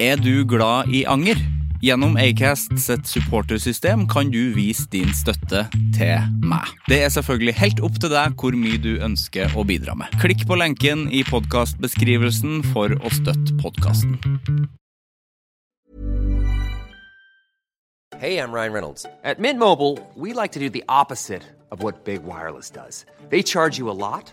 Er du glad i anger? Gjennom Acast sitt supportersystem kan du vise din støtte til meg. Det er selvfølgelig helt opp til deg hvor mye du ønsker å bidra med. Klikk på lenken i podkastbeskrivelsen for å støtte podkasten. Hey, I'm Ryan Reynolds. At Mint Mobile, we like to do the opposite of what Big Wireless does. They charge you a lot,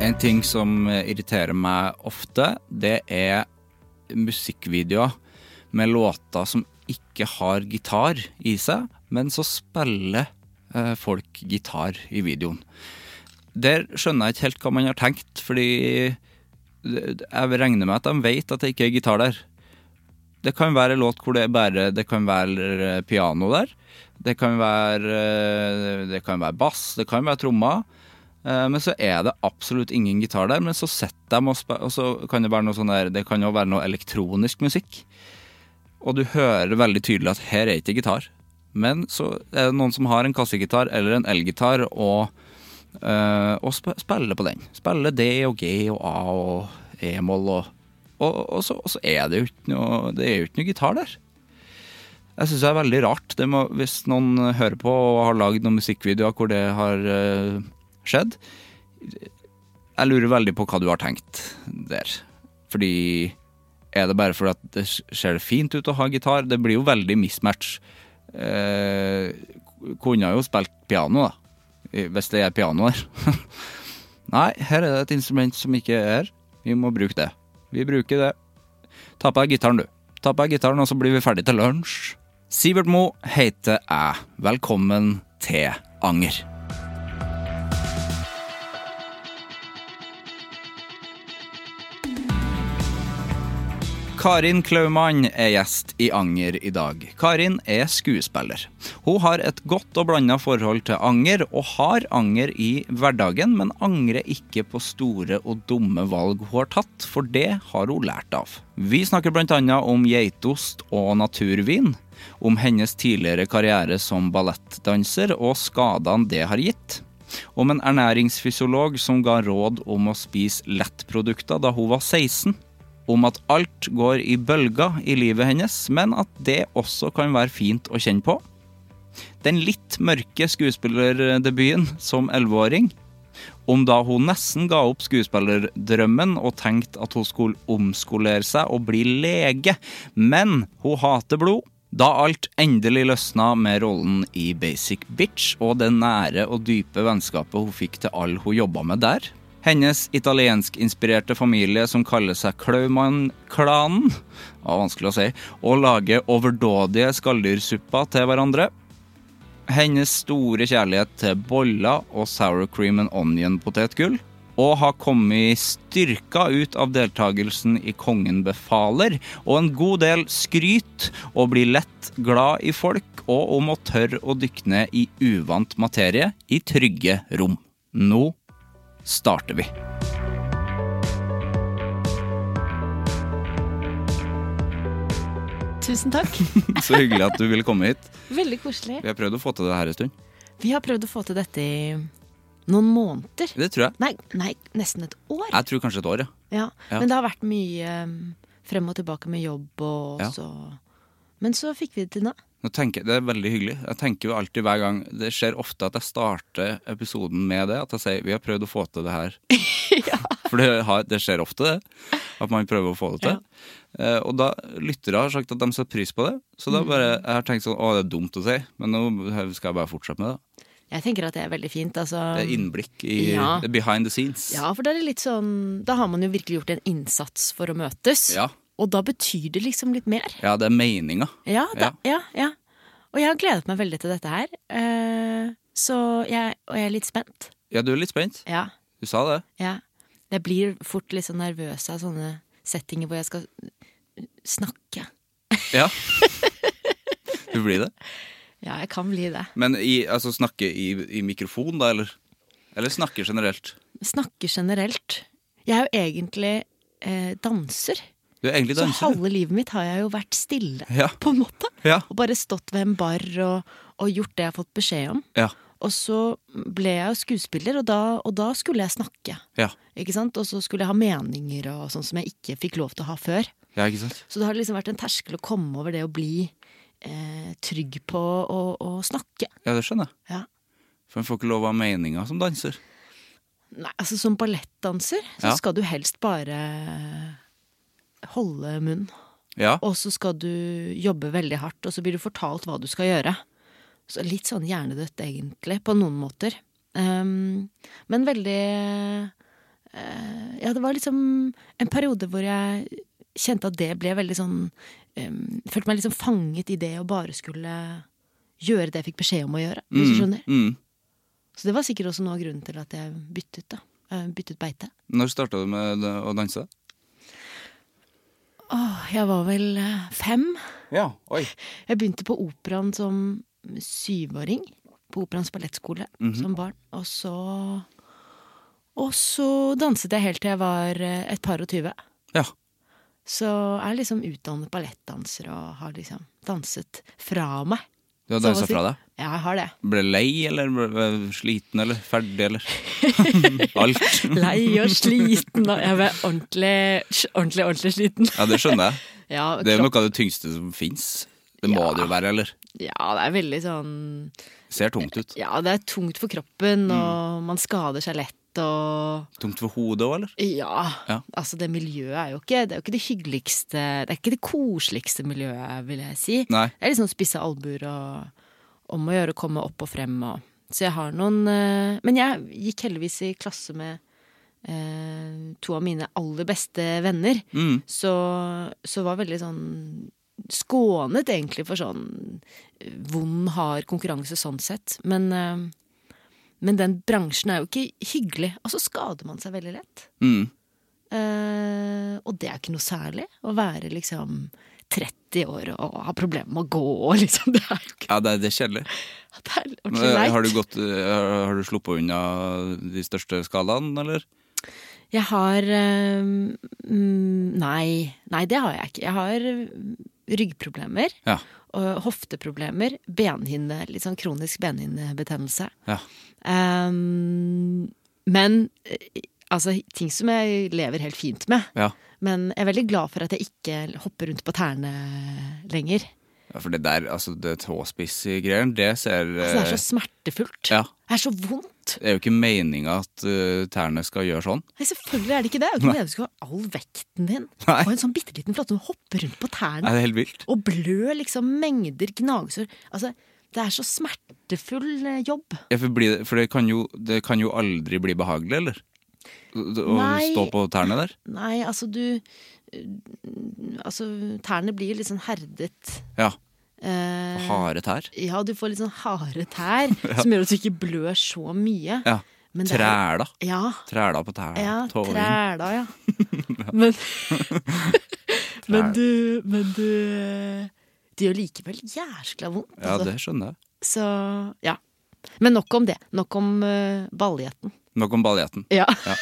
En ting som eh, irriterer meg ofte, det er musikkvideoer med låter som ikke har gitar i seg, men så spiller eh, folk gitar i videoen. Der skjønner jeg ikke helt hva man har tenkt, fordi jeg regner med at de vet at det ikke er gitar der. Det kan være en låt hvor det er bare Det kan være eh, piano der. Det kan være, det kan være bass, det kan være trommer. Eh, Men så er det absolutt ingen gitar der, men så setter de og spiller, og så kan det være noe sånn der Det kan jo være noe elektronisk musikk. Og du hører veldig tydelig at her er ikke gitar. Men så er det noen som har en kassegitar eller en elgitar og, eh, og sp spiller på den. Spiller D og G og A og E-moll og og, og, så, og så er det jo ikke noe, det er jo ikke noe gitar der. Jeg syns det er veldig rart. Det må, hvis noen hører på og har lagd noen musikkvideoer hvor det har eh, skjedd Jeg lurer veldig på hva du har tenkt der. Fordi er det bare fordi at det ser fint ut å ha gitar? Det blir jo veldig mismatch. Eh, kunne jo spilt piano, da. i- Hvis det er piano her. Nei, her er det et instrument som ikke er her. Vi må bruke det. Vi bruker det. Ta på deg gitaren, du. Ta på deg gitaren, og så blir vi ferdig til lunsj. Sivert Mo heter jeg. Velkommen til Anger. Karin Klaumann er gjest i Anger i dag. Karin er skuespiller. Hun har et godt og blanda forhold til anger, og har anger i hverdagen, men angrer ikke på store og dumme valg hun har tatt, for det har hun lært av. Vi snakker bl.a. om geitost og naturvin, om hennes tidligere karriere som ballettdanser og skadene det har gitt om en ernæringsfysiolog som ga råd om å spise lettprodukter da hun var 16. Om at alt går i bølger i livet hennes, men at det også kan være fint å kjenne på. Den litt mørke skuespillerdebuten som 11-åring. Om da hun nesten ga opp skuespillerdrømmen og tenkte at hun skulle omskolere seg og bli lege, men hun hater blod. Da alt endelig løsna med rollen i Basic Bitch og det nære og dype vennskapet hun fikk til alle hun jobba med der. Hennes italienskinspirerte familie som kaller seg Klaumann-klanen, ja, vanskelig å si, og lager overdådige skallyrsupper til hverandre hennes store kjærlighet til boller og sour cream and onion potetgull, og har kommet styrka ut av deltakelsen i Kongen befaler, og en god del skryt, og blir lett glad i folk, og om å tørre å dykke ned i uvant materie i trygge rom. Nå starter vi. Tusen takk. Så hyggelig at du ville komme hit. Veldig koselig. Vi har prøvd å få til det her en stund. Vi har prøvd å få til dette i noen måneder. Det tror jeg. Nei, nei nesten et år. Jeg tror kanskje et år, ja. Ja. Ja. Men det har vært mye um, frem og tilbake med jobb og Ja. så Men så fikk vi det til nå. Nå tenker, det er veldig hyggelig. Jeg tenker jo alltid hver gang Det skjer ofte at jeg starter episoden med det. At jeg sier 'vi har prøvd å få til det her'. For det, har, det skjer ofte, det. At man prøver å få det til. Eh, og da lyttere har sagt at de setter pris på det. Så Mm. da bare, jeg har tenkt sånn 'å, det er dumt å si', men nå skal jeg bare fortsette med det. Jeg tenker at det er veldig fint. Altså, Det er innblikk i Ja. det er behind the scenes. ja, for da er det litt sånn Da har man jo virkelig gjort en innsats for å møtes. Ja. Og da betyr det liksom litt mer. Ja, det er meninga. Ja, da, ja. ja, Og jeg har gledet meg veldig til dette her. Eh, Så jeg, og jeg er litt spent. Ja, du er litt spent? Ja. Du sa det? ja. Jeg blir fort litt sånn nervøs av sånne settinger hvor jeg skal snakke. Ja. Du blir det? Ja, jeg kan bli det. Men i, altså, snakke i, i mikrofon, da, eller? Eller snakke generelt? Snakke generelt. Jeg er jo egentlig eh, danser. Du er egentlig Så danser. du. halve livet mitt har jeg jo vært stille, Ja. på en måte. Ja. Og bare stått ved en bar og, og gjort det jeg har fått beskjed om. Ja. Og så ble jeg jo skuespiller, og da, og da skulle jeg snakke. Ja. Ikke sant? Og så skulle jeg ha meninger og sånn som jeg ikke fikk lov til å ha før. ja, ikke sant? Så det har liksom vært en terskel å komme over det å bli eh, trygg på å, å snakke. Ja, det skjønner jeg. Ja. For en får ikke lov å ha meninger som danser. Nei, altså Som ballettdanser så Ja. skal du helst bare holde munn. Ja. Og så skal du jobbe veldig hardt, og så blir du fortalt hva du skal gjøre. Så litt sånn hjernedødt, egentlig, på noen måter. Ehm, men veldig eh, Ja, det var liksom en periode hvor jeg kjente at det ble veldig sånn ehm, Følte meg liksom fanget i det å bare skulle gjøre det jeg fikk beskjed om å gjøre. Hvis du skjønner. Mm. Så det var sikkert også noe av grunnen til at jeg byttet, da. Eh, Byttet beite. Når starta du med det- å danse? Åh, jeg var vel eh, fem. Ja, oi. Jeg begynte på operaen som syvåring. På Operaens ballettskole Mhm. som barn. Og så Og så danset jeg helt til jeg var eh, et par og tyve. Ja. Så jeg er liksom utdannet ballettdanser og har liksom danset fra meg. Du har så å dansa si. fra deg? Ja, jeg har det. Ble lei, eller ble, ble sliten, eller ferdig, eller Alt. Lei og sliten og Jeg ble ordentlig, ordentlig, ordentlig sliten. Ja, det skjønner jeg. Ja, Det er jo kropp- noe av det tyngste som fins. Det må det jo være, eller? ja, det er veldig sånn Ser tungt ut. Ja, det er tungt for kroppen, Mm. og man skader seg lett og Tungt for hodet òg, eller? Ja. Ja. Altså, det miljøet er jo ikke Det er jo ikke det hyggeligste Det er ikke det koseligste miljøet, vil jeg si. Nei. Det er liksom spisse albuer og om å gjøre å komme opp og frem og Så jeg har noen eh, Men jeg gikk heldigvis i klasse med eh, to av mine aller beste venner. Mm. Så, så var veldig sånn skånet egentlig for sånn eh, vond, hard konkurranse sånn sett. Men, eh, men den bransjen er jo ikke hyggelig. Og så skader man seg veldig lett. Mm. Eh, og det er ikke noe særlig å være liksom 30 år og ha problemer med å gå og liksom. Det er jo ikke Ja, det, er- det er kjedelig. Det er Men, ordentlig eh, leit. Har du, gått, eh, har har du sluppet unna de største skalaene, eller? Jeg har eh, mm, Nei. Nei, det har jeg ikke. Jeg har eh, ryggproblemer. Ja. Og hofteproblemer. Benhinne. Litt sånn kronisk benhinnebetennelse. ja. Ehm, men eh, altså, ting som jeg lever helt fint med. Ja. Men jeg er veldig glad for at jeg ikke hopper rundt på tærne lenger. Ja, For det der, altså det tåspissgreiene, det ser Altså, det er eh, så smertefullt. Ja. Det er så vondt. Det er jo ikke meninga at eh, tærne skal gjøre sånn. Nei, selvfølgelig er det ikke det. Det er jo ikke meningen at du skal ha all vekten din Nei. og en sånn bitte liten flåtte som hopper rundt på tærne Er det helt vilt? og blør liksom mengder gnagsår. Altså, det er så smertefull eh, jobb. Ja, for, blir det, for det, kan jo, det kan jo aldri bli behagelig, eller? Å Nei. stå på tærne der? Nei, altså du eh, Altså, tærne blir litt sånn herdet. Ja. Eh, Harde tær. ja, du får litt sånn harde tær som gjør at du ikke blør så mye. Ja. Men det er- Træla. Ja, Træla på tærne. Ja, Tåving. træla, ja. Men, men du Men du Det gjør likevel jæskla vondt. Ja, altså. det skjønner jeg. Så ja. Men nok om det. Nok om uh, balletten. Nok om baljetten. Ja. Ja.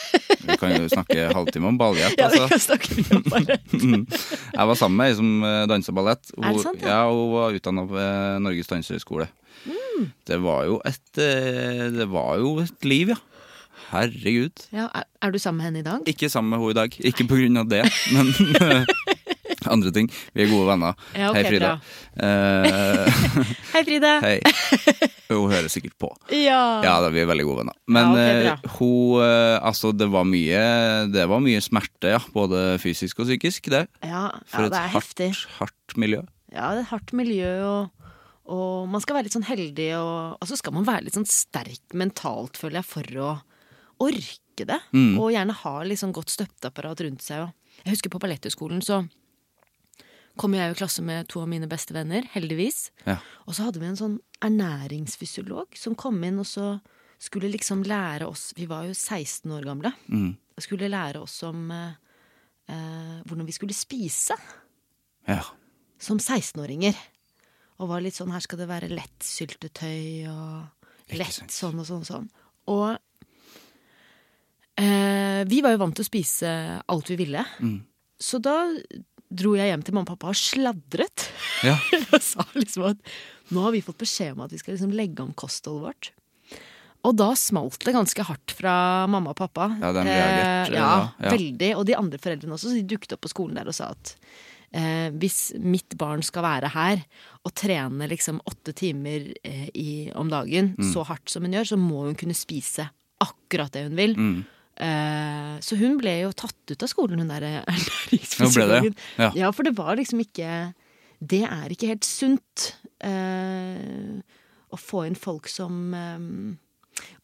Vi kan jo snakke halvtime om baljett. ja, vi Altså. kan snakke mye om ballett. Jeg var sammen med ei som eh, dansa ballett. Hun, Er det sant, ja? ja? hun var utdanna ved Norges dansehøgskole. Mm. Det var jo et eh, Det var jo et liv, ja. Herregud. Ja, er, er du sammen med henne i dag? Ikke sammen med henne i dag. Ikke på grunn av det, men eh, andre ting. Vi er gode venner. Ja, ok, hei, Frida. bra. Eh, Hei, Frida. hei. Hun hører sikkert på. Ja. Ja, da, vi er veldig gode venner. Men Ja, ok, eh, hun eh, Altså, det var mye Det var mye smerte, ja. Både fysisk og psykisk, det. ja, For ja, det er et heftig. hardt, hardt miljø. Ja, det er et hardt miljø, og, og man skal være litt sånn heldig, og, og så skal man være litt sånn sterk mentalt, føler jeg, for å orke det. Og gjerne ha litt sånn godt støtteapparat rundt seg. Og jeg husker på Balletthøgskolen så kom jeg jo i klasse med to av mine beste venner, heldigvis. Ja. Og så hadde vi en sånn ernæringsfysiolog som kom inn og så skulle liksom lære oss Vi var jo 16 år gamle. Og skulle lære oss om eh, eh, hvordan vi skulle spise Ja. som 16-åringer. Og var litt sånn her skal det være lett syltetøy og Ikke lett sant. sånn og sånn og sånn. Og eh, vi var jo vant til å spise alt vi ville. Mm. Så da dro jeg hjem til mamma og pappa og sladret. Ja. og sa liksom at nå har vi fått beskjed om at vi skal liksom legge om kostholdet vårt. Og da smalt det ganske hardt fra mamma og pappa. Eh, Ja, de reagerte, ja, ja. veldig. Og de andre foreldrene også. Så de dukket opp på skolen der og sa at eh, hvis mitt barn skal være her og trene liksom åtte timer eh, i, om dagen Mm. så hardt som hun gjør, så må hun kunne spise akkurat det hun vil. Mm. Eh, så hun ble jo tatt ut av skolen, hun der ble ernæringsfysiologen. det, ja. ja, for det var liksom ikke Det er ikke helt sunt eh, å få inn folk som eh,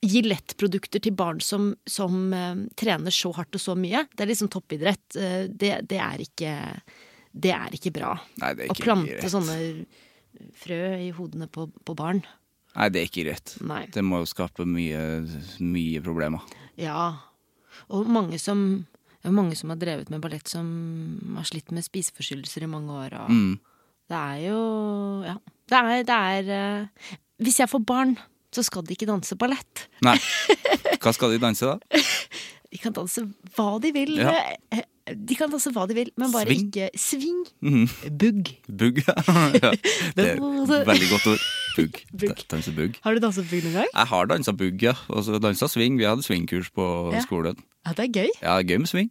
gir lettprodukter til barn som, som eh, trener så hardt og så mye. Det er liksom toppidrett. Eh, det, det er ikke Det er ikke bra. Nei, det er å ikke plante rett. sånne frø i hodene på, på barn. Nei, det er ikke rett. Nei. Det må jo skape mye, mye problemer. Ja. Og mange som, det er mange som har drevet med ballett, som har slitt med spiseforstyrrelser i mange år. Og Mm. Det er jo Ja. Det er, det er eh, Hvis jeg får barn, så skal de ikke danse ballett. Nei. Hva skal de danse, da? De kan danse hva de vil. Ja. eh, eh, De kan danse hva de vil, men bare Swing. ikke sving. Mhm. Bugg. Bugg? ja. Det er et veldig godt ord. Bugg. Bugg. Danse bugg. Har du danset bugg noen gang? Jeg har dansa bugg, ja. Og så dansa sving. Vi hadde svingkurs på Ja. skolen. Ja, det er gøy. Ja, det er gøy med sving.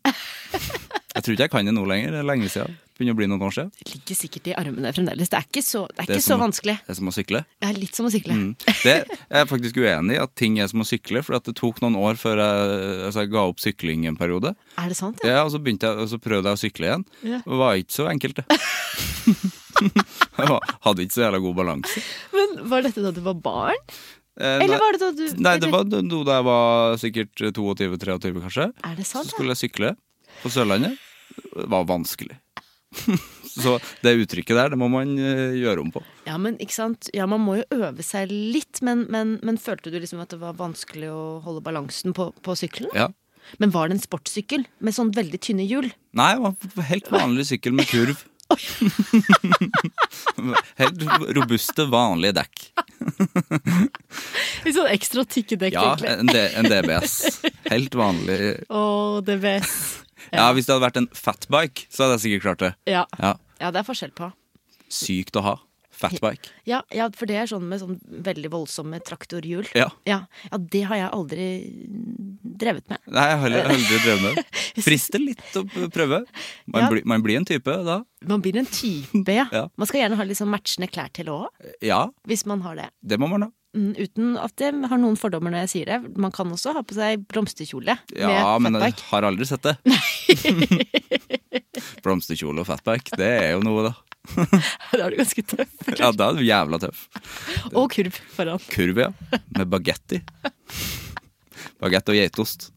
Jeg tror ikke jeg kan det nå lenger. Det er lenge siden. Det Begynner å bli noen år siden. Det ligger sikkert i armene fremdeles. Det er ikke så, det er Det er ikke så som Mhm. å- vanskelig. Det er som å sykle. Mm. Det er litt som å sykle. Det er jeg faktisk uenig i, at ting er som å sykle. For at det tok noen år før jeg, altså jeg ga opp sykling en periode. Er det sant? Ja, og så, begynte jeg, og så prøvde jeg å sykle igjen. Ja. Det var ikke så enkelt, det. jeg var- hadde ikke så jævla god balanse. Men Var dette da du var barn? Eh, Eller nei- var det da du Nei, det var da da jeg var sikkert 22-23, kanskje. Er det sant? Så da? skulle jeg sykle på Sørlandet. Det var vanskelig. så det uttrykket der, det må man eh, gjøre om på. Ja, men ikke sant? Ja, man må jo øve seg litt, men, men, men følte du liksom at det var vanskelig å holde balansen på, på sykkelen? da? Ja. Men var det en sportssykkel med sånn veldig tynne hjul? Nei, det var helt vanlig sykkel med kurv. helt robuste, vanlige dekk. Litt sånn ekstra tykke dekk, Ja, en, D en DBS. Helt vanlig. Å, det vet Ja, Hvis det hadde vært en fatbike, så hadde jeg sikkert klart det. ja. Ja, ja, det er forskjell på. Sykt å ha. Fatbike. Ja, ja, for det er sånn med sånn veldig voldsomme traktorhjul. Ja. Ja, ja, det har jeg aldri drevet med. Nei, jeg har aldri- jeg har aldri drevet med det. Frister litt å prøve. Man, Ja. blir- man blir en type da. Man blir en type, ja. Ja. Man skal gjerne ha litt sånn matchende klær til òg, Ja, hvis man har det. det må man ha. Mm, Uten at jeg har noen fordommer når jeg sier det. Man kan også ha på seg blomsterkjole Ja, med men jeg fatbike. har aldri sett det. Blomsterkjole og fatbike, det er jo noe, da. da er du ganske tøff. Ja, da er du jævla tøff. Og kurv foran. Kurv, ja. Med bagetti. Bagett og geitost.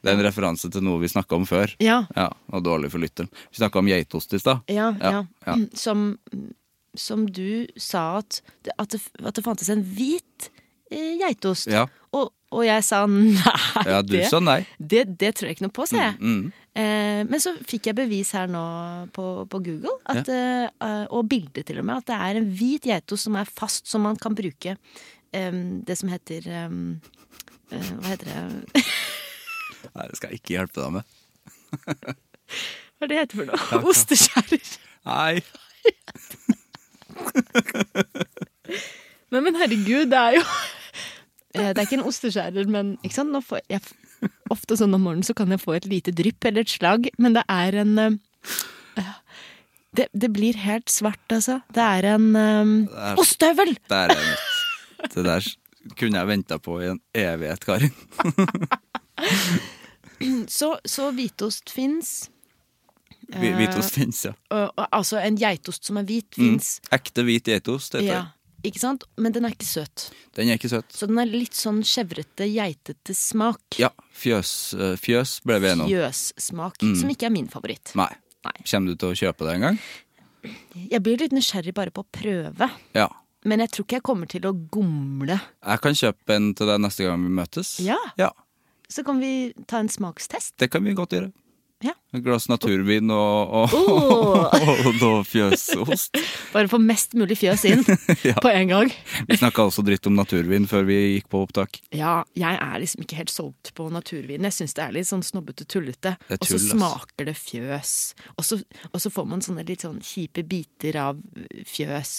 Det er en referanse til noe vi snakka om før. Ja. ja Og dårlig for lytteren. Vi snakka om geitost i stad. Ja, ja. ja. Mm, Som, som du sa at, det- at, det, at det fantes en hvit eh, geitost. Ja. Og, og jeg sa nei. Ja, du det, sa nei. Mm, Det, det tror jeg ikke noe på, sa jeg. Eh, men så fikk jeg bevis her nå på, på Google, at, eh, og bilde til og med, at det er en hvit geitost som er fast, som man kan bruke eh, det som heter eh, eh, Hva heter det Nei, Det skal jeg ikke hjelpe deg med. Hva er det det heter for noe? Osteskjærer. Nei. Nei, men herregud, det er jo Eh, Det er ikke en osteskjærer, men ikke sant? Nå får jeg, ofte sånn om morgenen så kan jeg få et lite drypp eller et slag, men det er en eh, eh, det, det blir helt svart, altså. Det er en eh, er- ostehøvel! Der er mitt. Det der kunne jeg venta på i en evighet, Karin. Så, så hvitost fins. Hvi- Hvitost fins, ja. og- og- Altså en geitost som er hvit, Mm. fins. Ekte hvit geitost heter Ja, ikke sant? Men den er ikke søt. det. Den er ikke søt. Så den er litt sånn skjevrete, geitete smak. Ja, fjøs, eh, fjøs ble vi enige om. Fjøssmak, som ikke er min favoritt. Mm. Nei. Nei. Kommer du til å kjøpe det en gang? Jeg blir litt nysgjerrig bare på å prøve. Ja. Men jeg tror ikke jeg kommer til å gomle. Jeg kan kjøpe en til deg neste gang vi møtes. Ja. ja Så kan vi ta en smakstest. det kan vi godt gjøre. Ja. Et glass naturvin og, og, Åh! og noe fjøsost. Bare få mest mulig fjøs inn på en gang. Vi snakka også dritt om naturvin før vi gikk på opptak. Ja, jeg er liksom ikke helt solgt på naturvin. Jeg syns det er litt sånn snobbete, tullete. Det er og så tull, ass. smaker det fjøs. Og så, og så får man sånne litt sånn kjipe biter av fjøs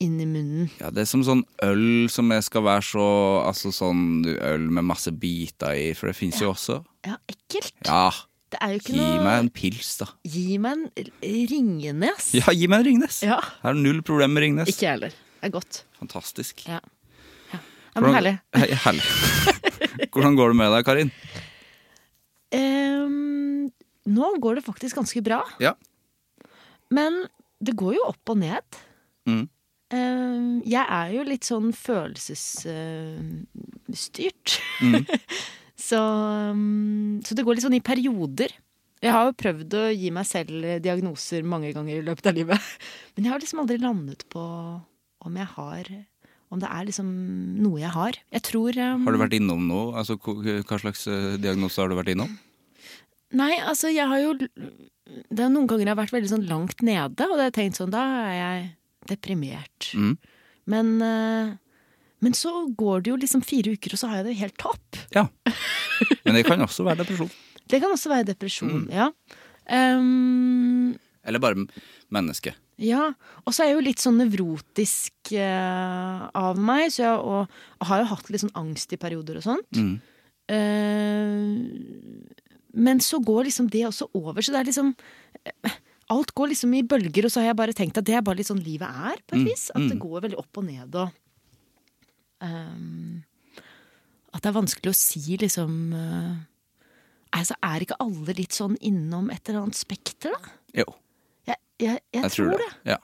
inn i munnen. Ja, Det er som sånn øl som jeg skal være så Altså sånn øl med masse biter i, for det fins jo også. Ja, ekkelt. Ja, Det er jo ikke gi noe meg en pils, da. Gi meg en Ringenes. Ja, gi meg en Ringnes! Ja. Her er null problem med Ringnes. Ikke jeg heller. Det er godt. Fantastisk. Ja. Ja, men herlig. Hei, herlig. Hvordan går det med deg, Karin? Ehm, nå går det faktisk ganske bra. Ja. Men det går jo opp og ned. Mm. Eh, jeg er jo litt sånn følelsesstyrt. Mm. så, mm, så det går litt sånn i perioder. Jeg har jo prøvd å gi meg selv diagnoser mange ganger i løpet av livet. Men jeg har liksom aldri landet på om jeg har Om det er liksom noe jeg har. Jeg tror um, Har du vært innom noe? Altså, hva hva slags eh, diagnose har du vært innom? Nei, altså jeg har jo Det er noen ganger jeg har vært veldig sånn langt nede, og da har jeg tenkt sånn Da er jeg deprimert. Men, eh, men så går det jo liksom fire uker, og så har jeg det helt topp. Ja. Men det kan også være depresjon. Det kan også være depresjon, ja. Ehm, Eller bare m- menneske. ja. Og så er jeg jo litt sånn nevrotisk eh, av meg, så jeg og, og har jo hatt litt sånn angst i perioder og sånt. Mm. Eh, men så går liksom det også over, så det er liksom eh, Alt går liksom i bølger, og så har jeg bare tenkt at det er bare litt sånn livet er, Mm, på et vis. At det går veldig opp og ned og ehm, At det er vanskelig å si liksom eh, Altså, er ikke alle litt sånn innom et eller annet spekter, da? Jo, Jeg, jeg, jeg, jeg tror det. Ja.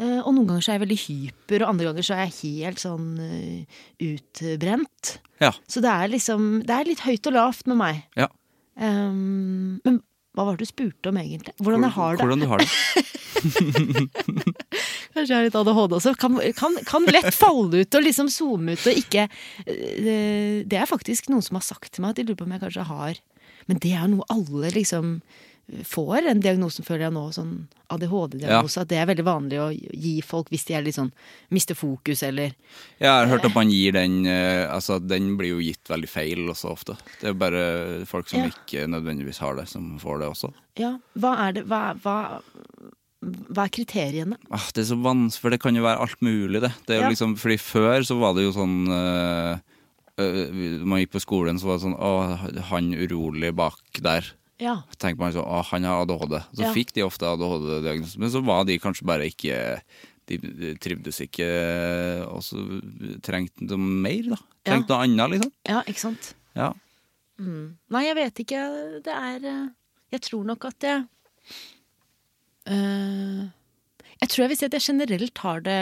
Eh, Og noen ganger så er jeg veldig hyper, og andre ganger så er jeg helt sånn eh, utbrent. Ja. Så det er liksom Det er litt høyt og lavt med meg. ja. Ehm, men hva var det du spurte om egentlig? Hvordan jeg har det? Hvordan du har det. Kanskje jeg har litt ADHD også. Kan, kan, kan lett falle ut og liksom zoome ut og ikke eh, Det er faktisk noen som har sagt til meg at de lurer på om jeg kanskje har Men det er noe alle liksom får, den diagnosen føler jeg nå, sånn ADHD-diagnose, at det er veldig vanlig å gi folk hvis de er litt sånn mister fokus eller Jeg har hørt at man gir den eh, Altså, den blir jo gitt veldig feil også ofte. Det er bare folk som Ja. ikke nødvendigvis har det, som får det også. Ja, hva er det Hva, hva, hva er kriteriene? Ah, det er så vanskelig, for det kan jo være alt mulig, det. det er jo Ja. liksom, fordi før så var det jo sånn øh, øh, Man gikk på skolen, så var det sånn Å, han urolig bak der. Ja. Tenker man sånn Å, han har ADHD. Så Ja. fikk de ofte ADHD-diagnose, men så var de kanskje bare ikke De trivdes ikke, og så trengte de mer, da. Ja. Trengte noe annet, liksom. ja, ikke sant? Ja. Nei, jeg vet ikke. Det er eh, Jeg tror nok at jeg eh, Jeg tror jeg vil si at jeg generelt har det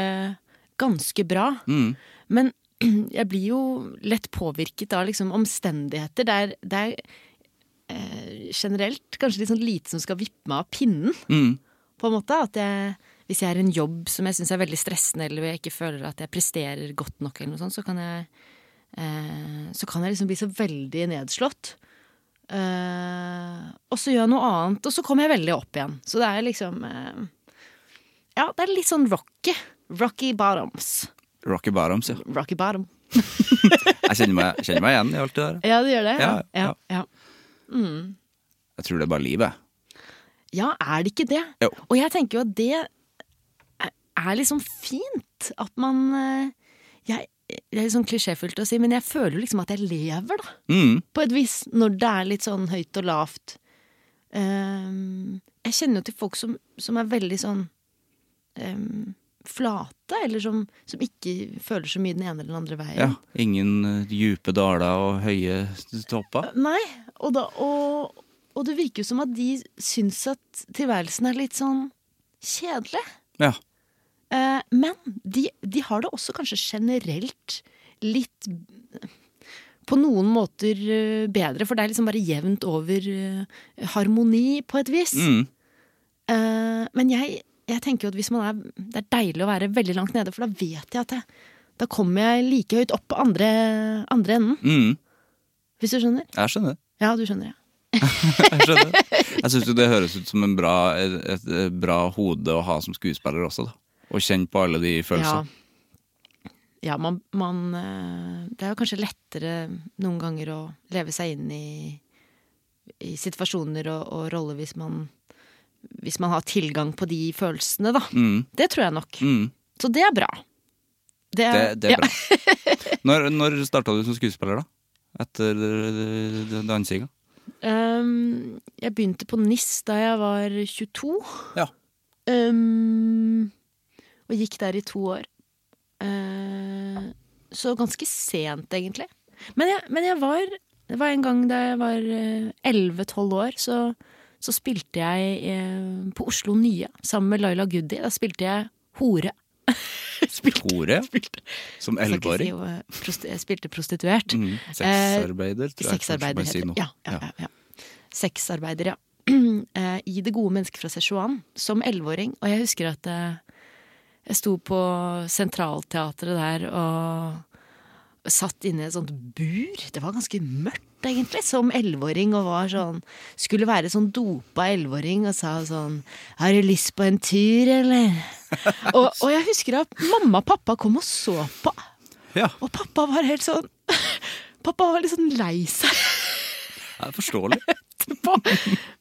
ganske bra. Men jeg blir jo lett påvirket av liksom omstendigheter. Det er, det er eh, generelt kanskje litt sånn lite som skal vippe meg av pinnen. På en måte at jeg hvis jeg er i en jobb som jeg syns er veldig stressende, eller hvor jeg ikke føler at jeg presterer godt nok, eller noe sånt, så kan jeg eh, så kan jeg liksom bli så veldig nedslått. Eh, og så gjør jeg noe annet, og så kommer jeg veldig opp igjen. Så det er liksom eh, Ja, det er litt sånn rocky. Rocky bottoms. Rocky Bottoms, ja. Rocky bottom. Jeg kjenner meg, kjenner meg igjen i alt det der. Ja, det gjør det? Ja, ja. ja. ja. Jeg tror det er bare livet. Ja, er det ikke det? Jo. Og jeg tenker jo at det er- er liksom fint at man eh, jeg, Det er litt sånn klisjéfullt å si, men jeg føler jo liksom at jeg lever, da. Mm. På et vis, når det er litt sånn høyt og lavt. Ehm, jeg kjenner jo til folk som, som er veldig sånn ehm, flate, eller som, som ikke føler så mye den ene eller den andre veien. Ja. Ingen eh, djupe daler og høye topper. Nei, og, da, og, og det virker jo som at de syns at tilværelsen er litt sånn kjedelig. Ja. Eh, men de, de har det også kanskje generelt litt eh, på noen måter eh, bedre, for det er liksom bare jevnt over eh, harmoni, på et vis. Mm. Eh, men jeg jeg tenker jo at hvis man er Det er deilig å være veldig langt nede, for da vet jeg at jeg, da kommer jeg like høyt opp på andre, andre enden. Mm, Hvis du skjønner? jeg skjønner. Ja, du skjønner, ja. Jeg skjønner. Jeg syns det høres ut som en bra, et, et bra hode å ha som skuespiller også, da. Og kjenne på alle de Ja, følelsene. ja man, man eh, Det er jo kanskje lettere noen ganger å leve seg inn i, i situasjoner og, og roller hvis man hvis man har tilgang på de følelsene, da. Mm, Det tror jeg nok. mm, Så det er bra. Det det, det ja. er bra. Når, når starta du som skuespiller, da? Etter eh, dansinga? Um, jeg begynte på NIS da jeg var 22. Ja. Um, og gikk der i to år. Eh, så ganske sent, egentlig. Men jeg, men jeg var Det var en gang da jeg var eh, 11-12 år, så, så spilte jeg eh, på Oslo Nye sammen med Laila Goody. Da spilte jeg hore. spilte, Hore? spilte, Som jeg skal ikke si elleveåring? hva- prosti- jeg spilte prostituert. Mm, sexarbeider, tror jeg. Eh, Sexarbeider kanskje heter man det. Ja, sier nå. ja, ja, ja. Sexarbeider, ja. Eh, I Det gode mennesket fra Szechuan, som elleveåring. Og jeg husker at eh, jeg sto på Sentralteatret der og satt inne i et sånt bur. Det var ganske mørkt, egentlig, som elleveåring. Og var sånn Skulle være sånn dopa elleveåring og sa sånn Har du lyst på en tur, eller? og, og jeg husker at mamma og pappa kom og så på. Ja. Og pappa var helt sånn Pappa var litt sånn lei seg Det er forståelig. etterpå.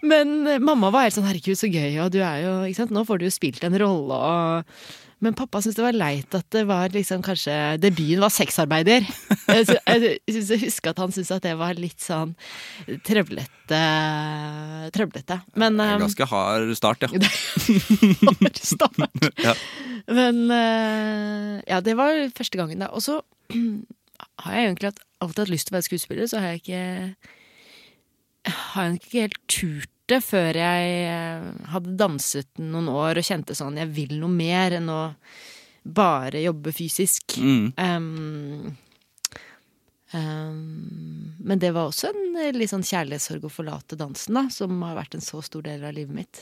Men eh, mamma var helt sånn 'herregud, så gøy', og du er jo ikke sant? Nå får du jo spilt en rolle og Men pappa syntes det var leit at det var liksom kanskje Debuten var sexarbeider. Jeg sy- jeg syns jeg husker at han syntes at det var litt sånn trøblete. Trøblete. Men En eh, ganske hard start, ja. Start. Ja. Men eh, ja, det var første gangen, da. Og så har jeg egentlig hatt, alltid hatt lyst til å være skuespiller, så har jeg ikke Har jeg ikke helt turt det før jeg eh, hadde danset noen år og kjente sånn Jeg vil noe mer enn å bare jobbe fysisk. Mm. Ehm, ehm, men det var også en eh, litt sånn kjærlighetssorg å forlate dansen, da, som har vært en så stor del av livet mitt.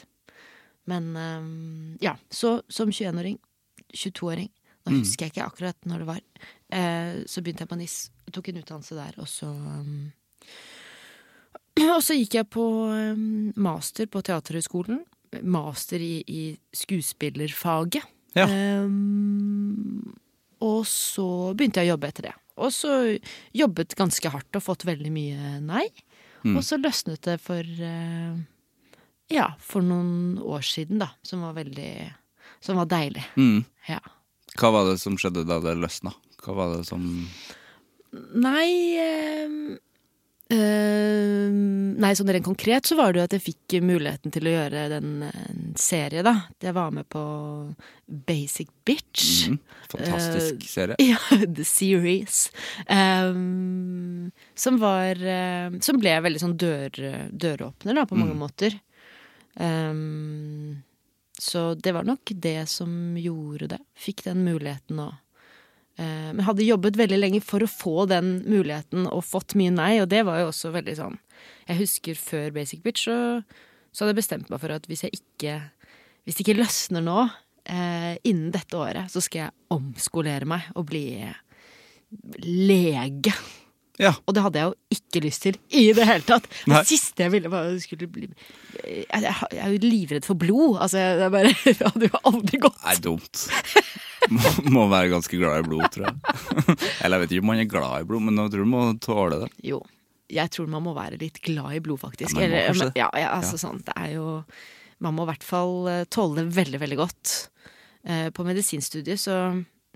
Men ehm, ja, så som 21-åring, 22-åring, nå husker jeg ikke akkurat når det var, eh, så begynte jeg på NIS, tok en utdannelse der, og så ehm, og så gikk jeg på ehm, master på Teaterhøgskolen. Master i, i skuespillerfaget. Ja. Ehm, og så begynte jeg å jobbe etter det. Og så jobbet ganske hardt og fått veldig mye nei. Og så løsnet det for eh, Ja, for noen år siden, da. Som var veldig Som var deilig. Mm. Ja. Hva var det som skjedde da det løsna? Hva var det som Nei ehm, ehm, Nei, sånn rent konkret så var det jo at jeg fikk muligheten til å gjøre den eh, en serie, da. Jeg var med på Basic Bitch. mm, Fantastisk Eh, serie. Ja, The Series. Ehm, som var eh, Som ble veldig sånn dør, døråpner, da, på mange måter. Ehm, så det var nok det som gjorde det. Fikk den muligheten og eh, Men hadde jobbet veldig lenge for å få den muligheten og fått mye nei, og det var jo også veldig sånn Jeg husker før Basic Bitch, så, så hadde jeg bestemt meg for at hvis jeg ikke hvis det ikke løsner nå, eh, innen dette året, så skal jeg omskolere meg og bli lege. Ja. Og det hadde jeg jo ikke lyst til i det hele tatt. Det Nei. siste jeg ville, var å skulle bli jeg, jeg, jeg er jo livredd for blod. Altså, jeg, jeg bare, det hadde jo aldri gått. Nei, dumt. Må, må være ganske glad i blod, tror jeg. Eller jeg vet ikke om man er glad i blod, men jeg tror du må tåle det. Jo, jeg tror man må være litt glad i blod, faktisk. Ja, man må Eller, kanskje det. ja, ja, altså sånn, det er jo Man må i hvert fall eh, tåle det veldig, veldig godt. Eh, På medisinstudiet så,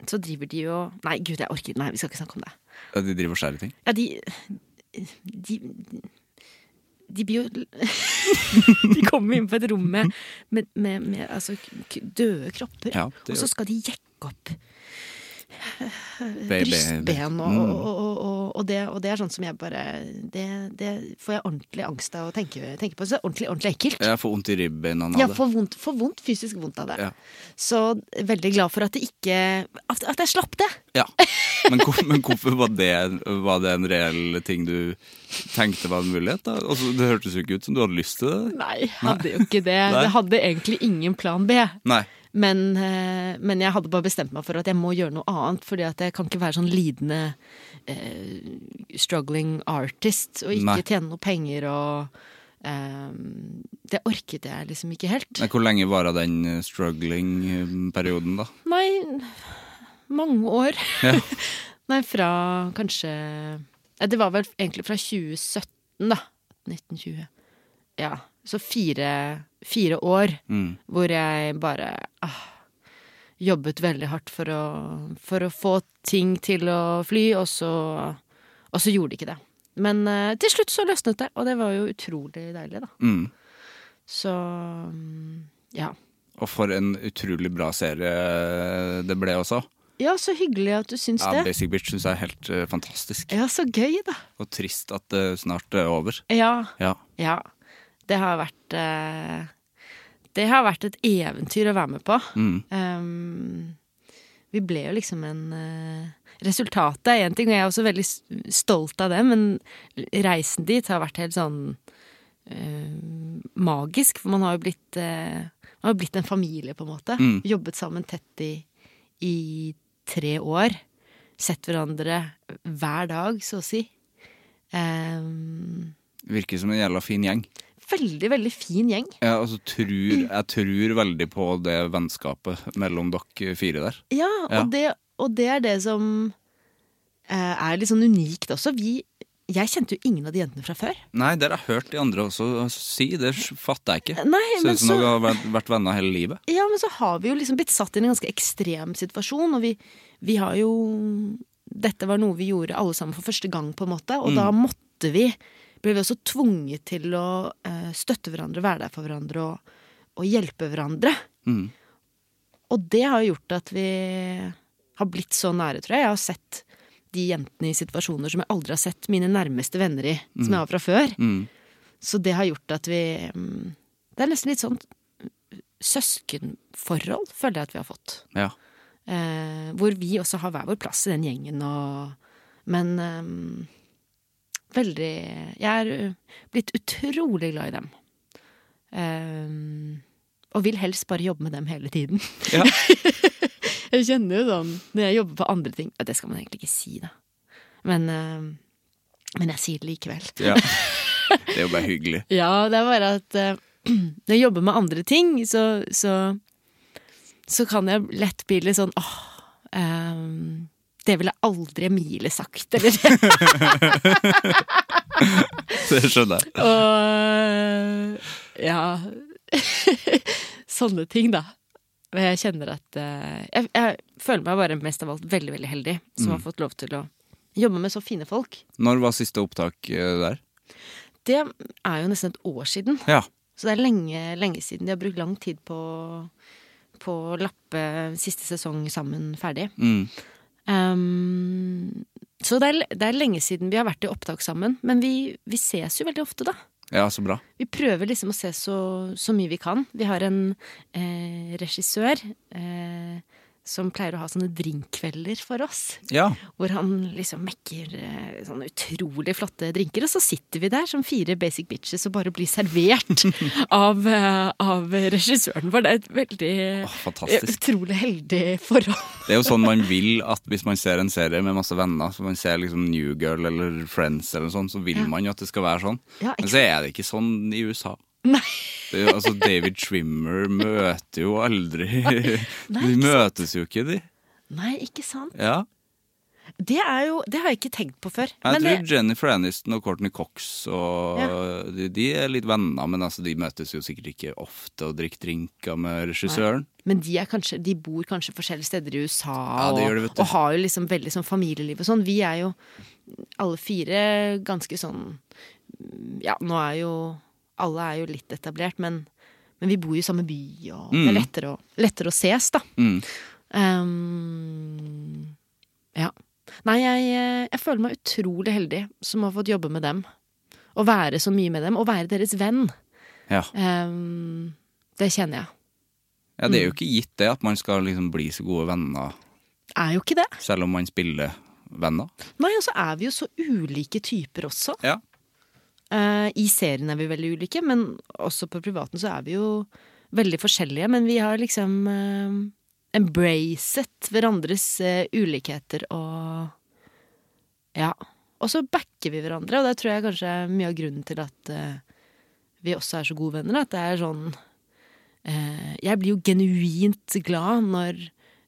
så driver de jo Nei, gud, jeg orker Nei, vi skal ikke snakke om det. Ja, De driver og skjærer ting. Ja, de De, de blir jo De kommer inn på et rom med, med, med, med altså, k døde kropper. Ja, det og gjør- så skal de jekke opp Baby- brystben, og, Mm. og, og, og, og, det, og det er sånn som jeg bare Det, det får jeg ordentlig angst av å tenke, tenke på. Så det er ordentlig, ordentlig ekkelt. Jeg får vondt i ribbeina Ja, av det. får vondt, får vondt, fysisk vondt av det. Ja. Så veldig glad for at det ikke At, at jeg slapp det! Ja. Men, hvor- men hvorfor var det, var det en reell ting du tenkte var en mulighet? da? Altså, det hørtes jo ikke ut som du hadde lyst til det. Nei, hadde jo ikke det. Nei. Jeg hadde egentlig ingen plan B. Nei. Men, eh, men jeg hadde bare bestemt meg for at jeg må gjøre noe annet. Fordi at jeg kan ikke være sånn lidende eh, struggling artist og ikke Nei. tjene noe penger og eh, Det orket jeg liksom ikke helt. Men Hvor lenge varer den eh, struggling-perioden, da? Nei, mange år. Nei, fra kanskje ja, Det var vel egentlig fra 2017, da. 1920. Ja. Så fire, fire år Mm. hvor jeg bare ah, jobbet veldig hardt for å, for å få ting til å fly, og så, og så gjorde de ikke det. Men eh, til slutt så løsnet det, og det var jo utrolig deilig, da. Mm. Så mm, ja. Og for en utrolig bra serie det ble også. Ja, så hyggelig at du syns Ja, det. Basic Bitch syns jeg er helt eh, fantastisk. Ja, så gøy, da. Og trist at det snart eh, er over. Ja. Ja. ja. Det har vært eh, Det har vært et eventyr å være med på. Mm. Ehm, vi ble jo liksom en eh, Resultatet er én ting, og jeg er også veldig s- stolt av det, men reisen dit har vært helt sånn eh, magisk. For man har jo blitt, eh, man har jo blitt en familie, på en måte. Mm. Jobbet sammen tett i, i tre år. Sett hverandre hver dag, så å si. Ehm, Virker som en jævla fin gjeng. veldig, veldig fin gjeng. Ja, altså, tror, jeg tror veldig på det vennskapet mellom dere fire der. Ja, Ja. og, Det, og det er det som eh, er litt sånn unikt også. Vi, jeg kjente jo ingen av de jentene fra før. Nei, det har jeg hørt de andre også si. Det fatter jeg ikke. Nei, Ser men ut som så- dere har vært- vært venner hele livet. Ja, men så har vi jo liksom blitt satt i en ganske ekstrem situasjon, og vi, vi har jo Dette var noe vi gjorde alle sammen for første gang, på en måte, og da Mm. måtte vi Ble vi også tvunget til å eh, støtte hverandre, være der for hverandre og, og hjelpe hverandre. Mm. Og det har jo gjort at vi har blitt så nære, tror jeg. Jeg har sett de jentene i situasjoner som jeg aldri har sett mine nærmeste venner i, som jeg har fra før. Mm. Så det har gjort at vi mm, Det er nesten litt sånn søskenforhold, føler jeg at vi har fått. Ja. Eh, hvor vi også har hver vår plass i den gjengen og Men ehm, veldig Jeg er eh, blitt utrolig glad i dem. Ehm, og vil helst bare jobbe med dem hele tiden. Ja. jeg kjenner jo sånn når jeg jobber på andre ting ja, Det skal man egentlig ikke si, da. Men, ehm, men jeg sier det likevel. ja. Det er jo bare hyggelig. Ja, det er bare at eh, når jeg jobber med andre ting, så, så, så kan jeg lett bli litt sånn åh ehm, Det ville aldri Emilie sagt, eller Det skjønner jeg. Og ja Sånne ting, da. Men jeg kjenner at eh, jeg, jeg føler meg bare mest av alt veldig, veldig heldig som har fått lov til å jobbe med så fine folk. Når var siste opptak eh, der? Det er jo nesten et år siden. Ja. Så det er lenge, lenge siden. De har brukt lang tid på, på å lappe siste sesong sammen ferdig. Mm. Ehm, så det er, det er lenge siden vi har vært i opptak sammen. Men vi, vi ses jo veldig ofte, da. Ja, så bra. Vi prøver liksom å se så, så mye vi kan. Vi har en eh, regissør eh, som pleier å ha sånne drinkkvelder for oss. Ja. Hvor han liksom mekker eh, sånne utrolig flotte drinker, og så sitter vi der som fire basic bitches og bare blir servert av, eh, av regissøren vår. Det er et veldig eh, Åh, fantastisk. Utrolig heldig forhold. Det er jo sånn man vil at hvis man ser en serie med masse venner, så man ser liksom New Girl eller Friends eller sånn, så vil man jo at det skal være sånn. Ja, Men så er det ikke sånn i USA. Nei. Det er jo, altså, David Trimmer møter jo aldri Nei, De ikke sant. møtes jo ikke, de. Nei, ikke sant? Ja. Det er jo Det har jeg ikke tenkt på før. Jeg Men tror det, Jennifer Aniston og Courtney Cox og de, de er litt venner, men altså, de møtes jo sikkert ikke ofte og drikker drinker med regissøren. men de, er kanskje, de bor kanskje forskjellige steder i USA Ja, det og, gjør de, vet du. og har jo liksom veldig sånn familieliv og sånn. Vi er jo alle fire ganske sånn Ja, nå er jo Alle er jo litt etablert, men, men vi bor jo i samme by, og det er lettere å, lettere å ses, da. Mm. Ehm, ja. Nei, jeg, jeg føler meg utrolig heldig som har fått jobbe med dem. Og være så mye med dem, og være deres venn. Ja. Ehm, det kjenner jeg. ja, Mm. det er jo ikke gitt det at man skal liksom bli så gode venner Er jo ikke det. selv om man spiller venner. Nei, og så er vi jo så ulike typer også. Ja. Eh, I serien er vi veldig ulike, men også på privaten så er vi jo veldig forskjellige, men vi har liksom eh, embracet hverandres eh, ulikheter og Ja. Og så backer vi hverandre, og det tror jeg kanskje er mye av grunnen til at eh, vi også er så gode venner. At det er sånn eh, Jeg blir jo genuint glad når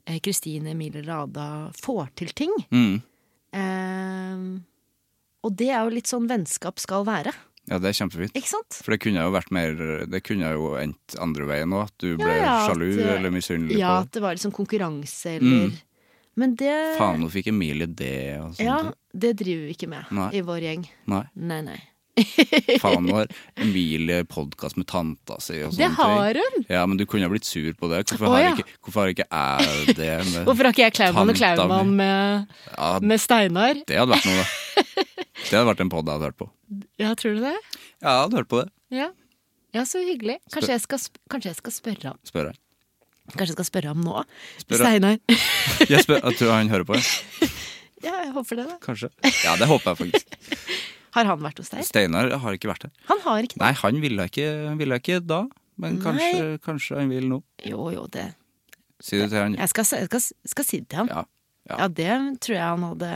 eh, Kristine Emilie Rada får til ting. Mm. Eh, og det er jo litt sånn vennskap skal være, Ja, det er kjempefint. ikke sant? For det kunne jo vært mer Det kunne jo endt andre veien òg, at du ble ja, at- eh, sjalu eller misunnelig på Ja, Mm. at det var liksom konkurranse eller Men det Faen, nå fikk Emilie det og sånne ja, ting. det driver vi ikke med Nei. i vår gjeng. Nei. Nei, nei. Faen, nå har Emilie podkast med tanta si og sånne Det har ting. hun! Ja, men du kunne ha blitt sur på det. Hvorfor, Å, har, ja. ikke, hvorfor har ikke jeg det? Med, Hvorfor har ikke jeg Klaumann og Tanta mi. Klaumann med, Ja, med Steinar? det hadde vært noe, da. Det hadde vært en pod jeg hadde hørt på. Ja, tror du det? Ja, jeg hadde hørt på det. Ja. ja, så hyggelig. Kanskje jeg skal, sp kanskje jeg skal spørre ham Spør jeg. Kanskje jeg skal spørre ham nå? Spør Steinar. Jeg, spør, jeg tror han hører på, ja. ja, jeg håper det, da. kanskje. Ja, det håper jeg faktisk. Har han vært hos deg? Steinar har ikke vært her. Han har ikke det. Nei, han ville ikke, han ville ikke da, men kanskje, kanskje han vil nå. Jo, jo, det Si det til han. Jeg skal, jeg skal, skal si det til ham. Ja. Ja. det tror jeg han hadde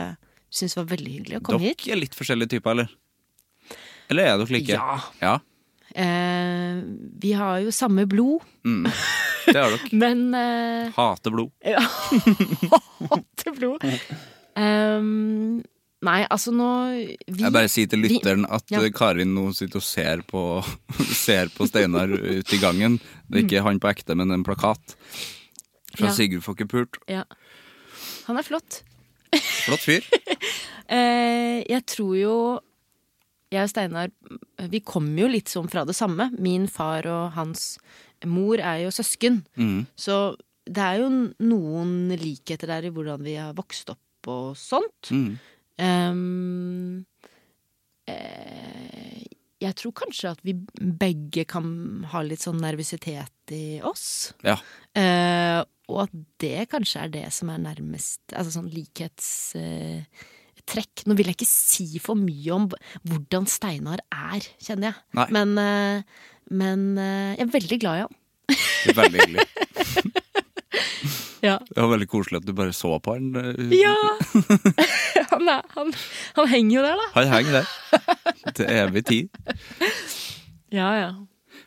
syntes var veldig hyggelig å komme Dere hit. er litt forskjellige typer, eller? Eller er dere like? Ja. ja. Eh, vi har jo samme blod, Det er dere. men eh, Hater blod. Ja. Hater blod. Ehm, nei, altså nå vi, Jeg bare sier til vi- lytteren at ja. eh, Karin nå sitter og ser på, ser på Steinar ute i gangen. Det er ikke han på ekte, men en plakat fra Mm. Ja. Sigurd Fokkepult. ja. Han er flott. Flott fyr. Eh, jeg tror jo Jeg og Steinar Vi kommer jo litt sånn fra det samme. Min far og hans mor er jo søsken. Mm. Så det er jo noen likheter der i hvordan vi har vokst opp og sånt. Mm. Ehm, eh, jeg tror kanskje at vi begge kan ha litt sånn nervøsitet i oss. Ja. Eh, og at det kanskje er det som er nærmest Altså sånn likhetstrekk. Nå vil jeg ikke si for mye om b- hvordan Steinar er, kjenner jeg. Nei. Men, eh, men eh, jeg er veldig glad i ham. Det er Veldig hyggelig. Ja. Det var veldig koselig at du bare så på han. eh, han, er, han, han henger jo der, da. Han henger der til evig tid. Ja, ja.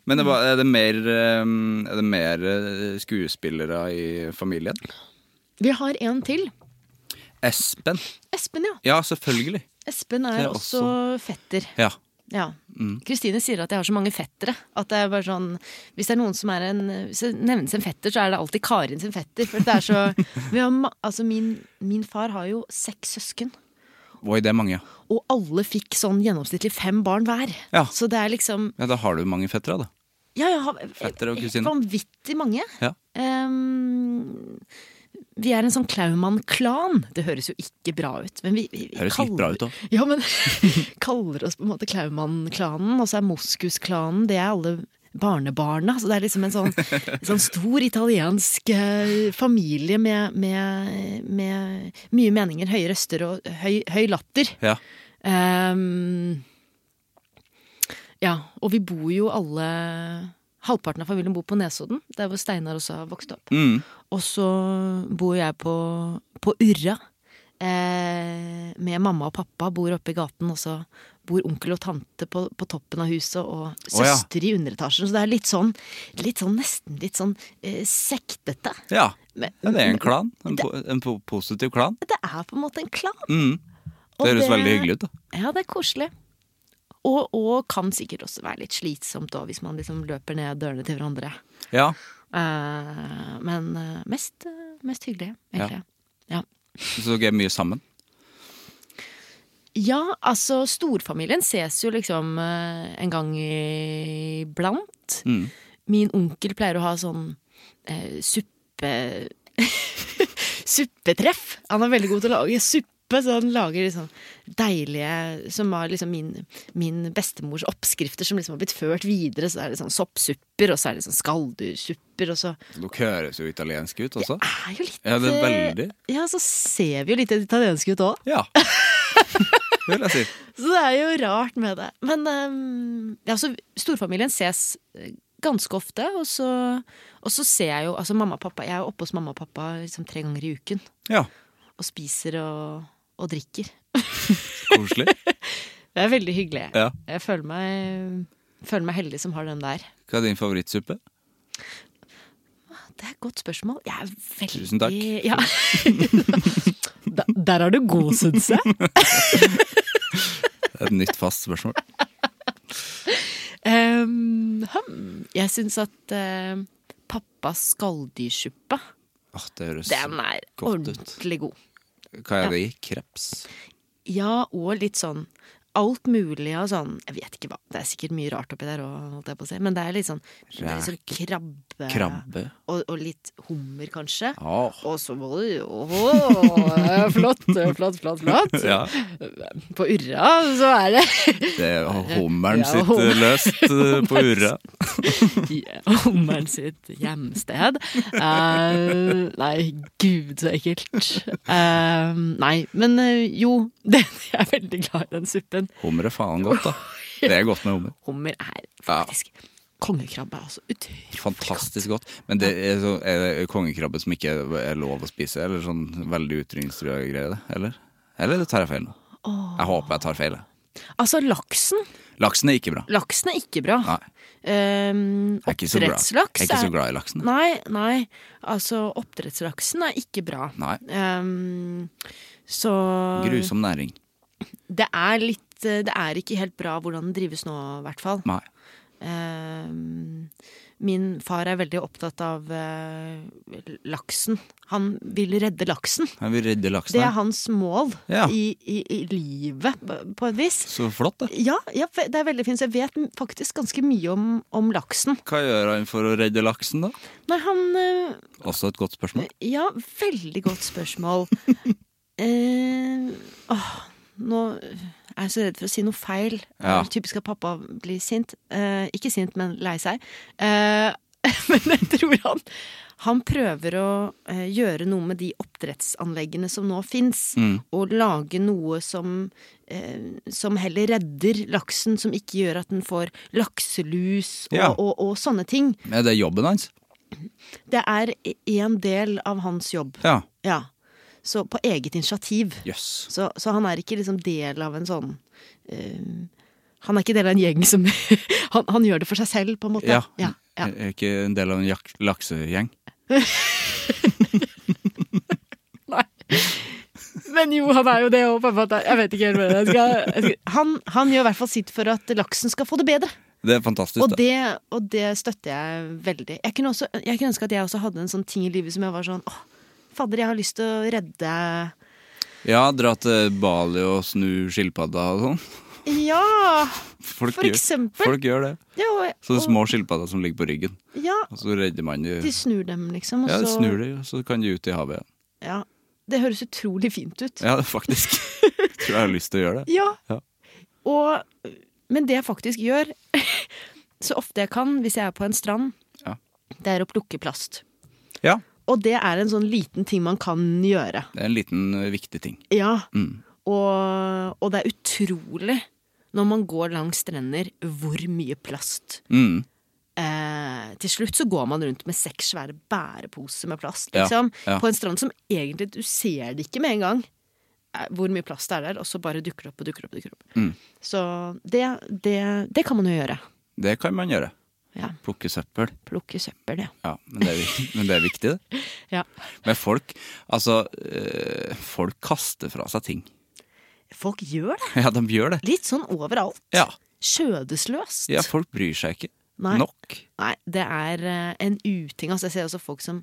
Men det var, er, det mer, eh, er det mer eh, skuespillere i familien? Vi har en til. Espen. Espen, ja. Ja, selvfølgelig. Espen er, Det er også, fetter. Ja. Ja. Kristine sier at jeg har så mange fettere. At det er bare sånn Hvis det er noen som er en Hvis det nevnes en fetter, så er det alltid Karin sin fetter. For det er så vi har, ma- Altså, min, min far har jo seks søsken. Oi, det er mange, ja. Og alle fikk sånn gjennomsnittlig fem barn hver. Ja. Så det er liksom ja. Da har du mange fettere, da. Ja, jeg har eh, Fettere og kusiner. vanvittig mange. Ja. Ehm, vi er en sånn Klaumann-klan. Det høres jo ikke bra ut. Men vi, vi, vi Høres litt bra ut òg. Ja, men kaller oss på en måte Klaumann-klanen, og så er Moskus-klanen Det er alle barnebarna. Så det er liksom en sånn, en sånn stor italiensk eh, familie med, med, med mye meninger, høye røster og høy, høy latter. Ja. Ehm, ja, og vi bor jo alle Halvparten av familien bor på Nesodden, der hvor Steinar også har vokst opp. Mm. Og så bor jeg på, på Urra. Eh, med mamma og pappa bor oppe i gaten, og så bor onkel og tante på, på toppen av huset, og ja. søster i underetasjen. Så det er litt sånn, litt sånn nesten litt sånn eh, sektete. Ja. Men- ja. Det er en klan. En, po en po positiv klan. Det er på en måte en klan. Og Mm. Det høres det- veldig hyggelig ut, da. Ja, det er koselig. Og, og kan sikkert også være litt slitsomt da, hvis man liksom løper ned dørene til hverandre. Ja. Eh, men eh, mest, eh, mest hyggelig, egentlig. Ja. Så dere er mye sammen? ja. altså storfamilien ses jo liksom eh, en gang iblant. Mm. Min onkel pleier å ha sånn eh, suppe... suppetreff. Han er veldig god til å lage suppe, så han lager liksom deilige Som var liksom min, min bestemors oppskrifter som liksom har blitt ført videre. Så det er liksom soppsupper, og så er det liksom skalldyrsupper, og så Dere høres jo italienske ut også. er jo litt Ja, det er veldig. eh, Ja, så ser vi jo litt italienske ut òg. Ja. Det vil jeg si. Så det er jo rart med det. Men ehm, ja, så storfamilien ses eh, ganske ofte. Og så, og så ser jeg jo altså mamma og pappa, Jeg er jo oppe hos mamma og pappa liksom tre ganger i uken Ja, og spiser og, og drikker. koselig. Det er veldig hyggelig. Ja. Jeg føler meg, føler meg heldig som har den der. Hva er din favorittsuppe? Det er et godt spørsmål. Jeg er veldig Tusen takk. Ja. Da- der er du god, syns jeg. Det er Et nytt fast spørsmål. Ehm, hm, jeg syns at eh, pappas skalldyrssuppe, Åh, det høres den er godt ut. ordentlig god. Hva er det i? Kreps? Ja, og litt sånn alt mulig av sånn Jeg vet ikke hva, det er sikkert mye rart oppi der òg, holdt jeg på å si, men det er litt sånn, det er litt sånn krabbe, Krabbe. Og, og litt hummer, kanskje. Åh. Og så Oi, åh, flott, flott, flott, flott. Ja, På Urra så er det det er hummeren Ja, sitt hummer. eh, løst eh, på urra. hummeren sitt hjemsted. Eh, nei, gud, så ekkelt. Eh, nei, men eh, jo, det, jeg er veldig glad i den suppen. Hummer er faen godt, da. Det er godt med hummer. Hummer er Ja. faktisk Kongekrabbe er altså utrolig Fantastisk godt. Men det er, så, er det kongekrabbe som ikke er lov å spise, eller sånn veldig utrydningstrua greie, det? eller? Eller tar jeg feil nå? Jeg håper jeg tar feil. jeg. Altså, laksen Laksen er ikke bra. Laksen er ikke bra. Nei. Um, Jeg er ikke så glad, jeg er ikke så glad i laksen. jeg. Nei, nei. Altså, oppdrettslaksen er ikke bra. Nei. Ehm, så Grusom næring. det er litt eh, Det er ikke helt bra hvordan den drives nå, i hvert fall. Nei. Ehm, min far er veldig opptatt av eh, laksen. Han vil redde laksen. Jeg vil redde Det laksen. er her. hans mål Ja. i, i, i livet, på- på et vis. Så flott, det. Ja, ja, det er veldig fint. Så jeg vet faktisk ganske mye om, om laksen. Hva gjør han for å redde laksen, da? Nei, han eh, Også et godt spørsmål. Ja, veldig godt spørsmål. eh, åh, nå er jeg så redd for å si noe feil. Ja. Det er Typisk at pappa blir sint. Eh, ikke sint, men lei seg. Eh, men jeg tror han Han prøver å eh, gjøre noe med de oppdrettsanleggene som nå fins, Mm. og lage noe som eh, som heller redder laksen, som ikke gjør at den får lakselus og, Ja. og, og sånne ting. Er det jobben hans? Det er e-, en del av hans jobb. Ja. Ja. Så på eget initiativ. Jøss. Så, så han er ikke liksom del av en sånn eh, Han er ikke del av en gjeng som han, han gjør det for seg selv, på en måte. Ja. ja, ja. Er er ikke en del av en jak- laksegjeng? Nei. Men jo, han er jo det òg, på en måte. Jeg vet ikke helt hva jeg skal, jeg skal han, han gjør i hvert fall sitt for at laksen skal få det bedre. Det er fantastisk, Og da. det, og det støtter jeg veldig. Jeg kunne, også, jeg kunne ønske at jeg også hadde en sånn ting i livet som jeg var sånn Åh, fadder, jeg har lyst til å redde Ja, dra til Bali og snu skilpadda og sånn. Ja! Folk, For gjør, eksempel. folk gjør det. ja, og- Sånne og- små skilpadder som ligger på ryggen. Ja, Og så redder man de. De snur dem, liksom. Og Ja, de så, snur de, og så kan de ut i havet igjen. Ja, det høres utrolig fint ut. Ja, det er faktisk. Jeg tror jeg har lyst til å gjøre det. Ja. Ja. Og, men det jeg faktisk gjør, så ofte jeg kan hvis jeg er på en strand, Ja. det er å plukke plast. Ja, Og det er en sånn liten ting man kan gjøre. det er en liten eh, viktig ting. Ja. Mm. Og, og det er utrolig når man går langs strender, hvor mye plast. Mm. Eh, til slutt så går man rundt med seks svære bæreposer med plast, Ja, liksom. ja. På en strand som egentlig du ser det ikke med en gang. eh, Hvor mye plast det er der, og så bare dukker det opp og dukker det opp. og Dukker det opp. Mm. Så det, det, det kan man jo gjøre. Det kan man gjøre. Ja, Plukke søppel. Plukke søppel, ja. Ja, men det er, vik- men det er viktig, det. ja. Men folk Altså, eh, folk kaster fra seg ting. Folk gjør det! Ja, de gjør det. Litt sånn overalt. Ja, Skjødesløst. ja folk bryr seg ikke Nei. nok. Nei, det er eh, en uting. Altså, jeg ser også folk som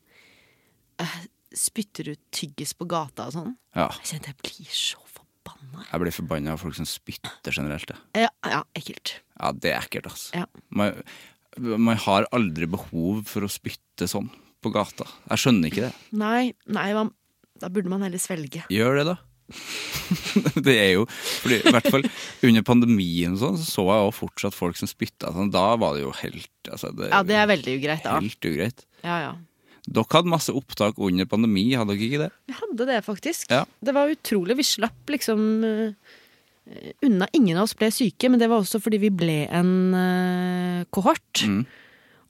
eh, spytter ut tyggis på gata og sånn. Ja, Jeg kjente jeg blir så forbanna. jeg blir forbanna av folk som spytter generelt. jeg. Ja, ja, ekkelt. Ja, det er ekkelt, altså. Ja. Man, man har aldri behov for å spytte sånn på gata. Jeg skjønner ikke det. Nei, nei man, da burde man heller svelge. Gjør det, da. det er jo fordi, I hvert fall under pandemien og sånn, så så jeg jo fortsatt folk som spytta sånn. Da var det jo helt altså, det, Ja, det er veldig ugreit, da. Helt ugreit. Ja, ja. Dere hadde masse opptak under pandemi, hadde dere ikke det? Vi hadde det, faktisk. Ja. Det var utrolig. Vi slapp liksom eh, unna. Ingen av oss ble syke, men det var også fordi vi ble en eh, kohort.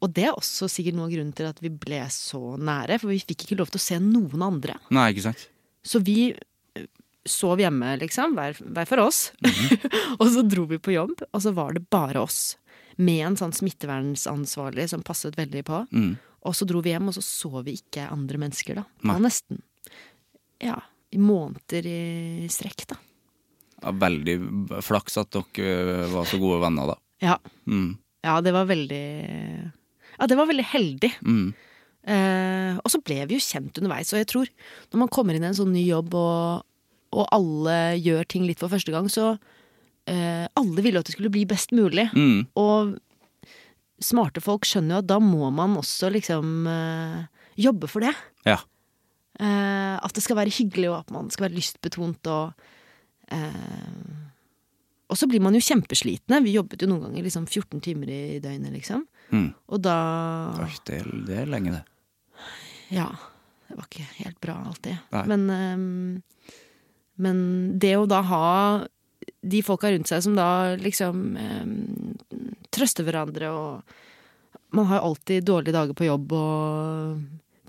Og det er også sikkert noe av grunnen til at vi ble så nære, for vi fikk ikke lov til å se noen andre. Nei, ikke sant? Så vi eh, sov hjemme, liksom, hver, hver for oss. og så dro vi på jobb, og så var det bare oss. Med en sånn smittevernansvarlig som passet veldig på. Og så dro vi hjem, og så så vi ikke andre mennesker, da. Det var nesten ja, i måneder i strekk, da. Ja, veldig b- flaks at dere eh, var så gode venner da. Ja. Mm. ja, det var veldig Ja, det var veldig heldig. Mm. Eh, og så ble vi jo kjent underveis, og jeg tror når man kommer inn i en sånn ny jobb, og, og alle gjør ting litt for første gang, så eh, Alle ville at det skulle bli best mulig. Mm. Og smarte folk skjønner jo at da må man også liksom eh, jobbe for det. Ja. Eh, at det skal være hyggelig, og at man skal være lystbetont og eh, Og så blir man jo kjempeslitne. Vi jobbet jo noen ganger liksom 14 timer i døgnet, liksom. Mm. Og da Ah. Oi, det, er, det er lenge det. Ja. Det var ikke helt bra alltid. Nei. Men, ehm, men det å da ha de folka rundt seg som da liksom ehm, trøster hverandre og Man har jo alltid dårlige dager på jobb og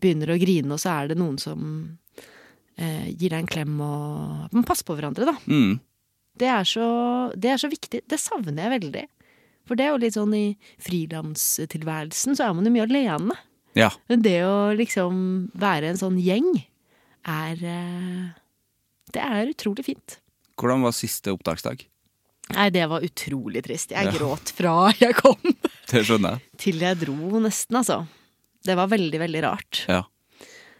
begynner å grine, og så er det noen som eh, gir deg en klem og Man passer på hverandre, da. Mm. Det er, så, det er så viktig. Det savner jeg veldig. For det er jo litt sånn i frilanstilværelsen, så er man jo mye alene. Ja. Men det å liksom være en sånn gjeng er eh, Det er utrolig fint. Hvordan var siste opptaksdag? Nei, det var utrolig trist. Jeg Ja. gråt fra jeg kom Det skjønner jeg. til jeg dro, nesten, altså. Det var veldig, veldig rart. Ja.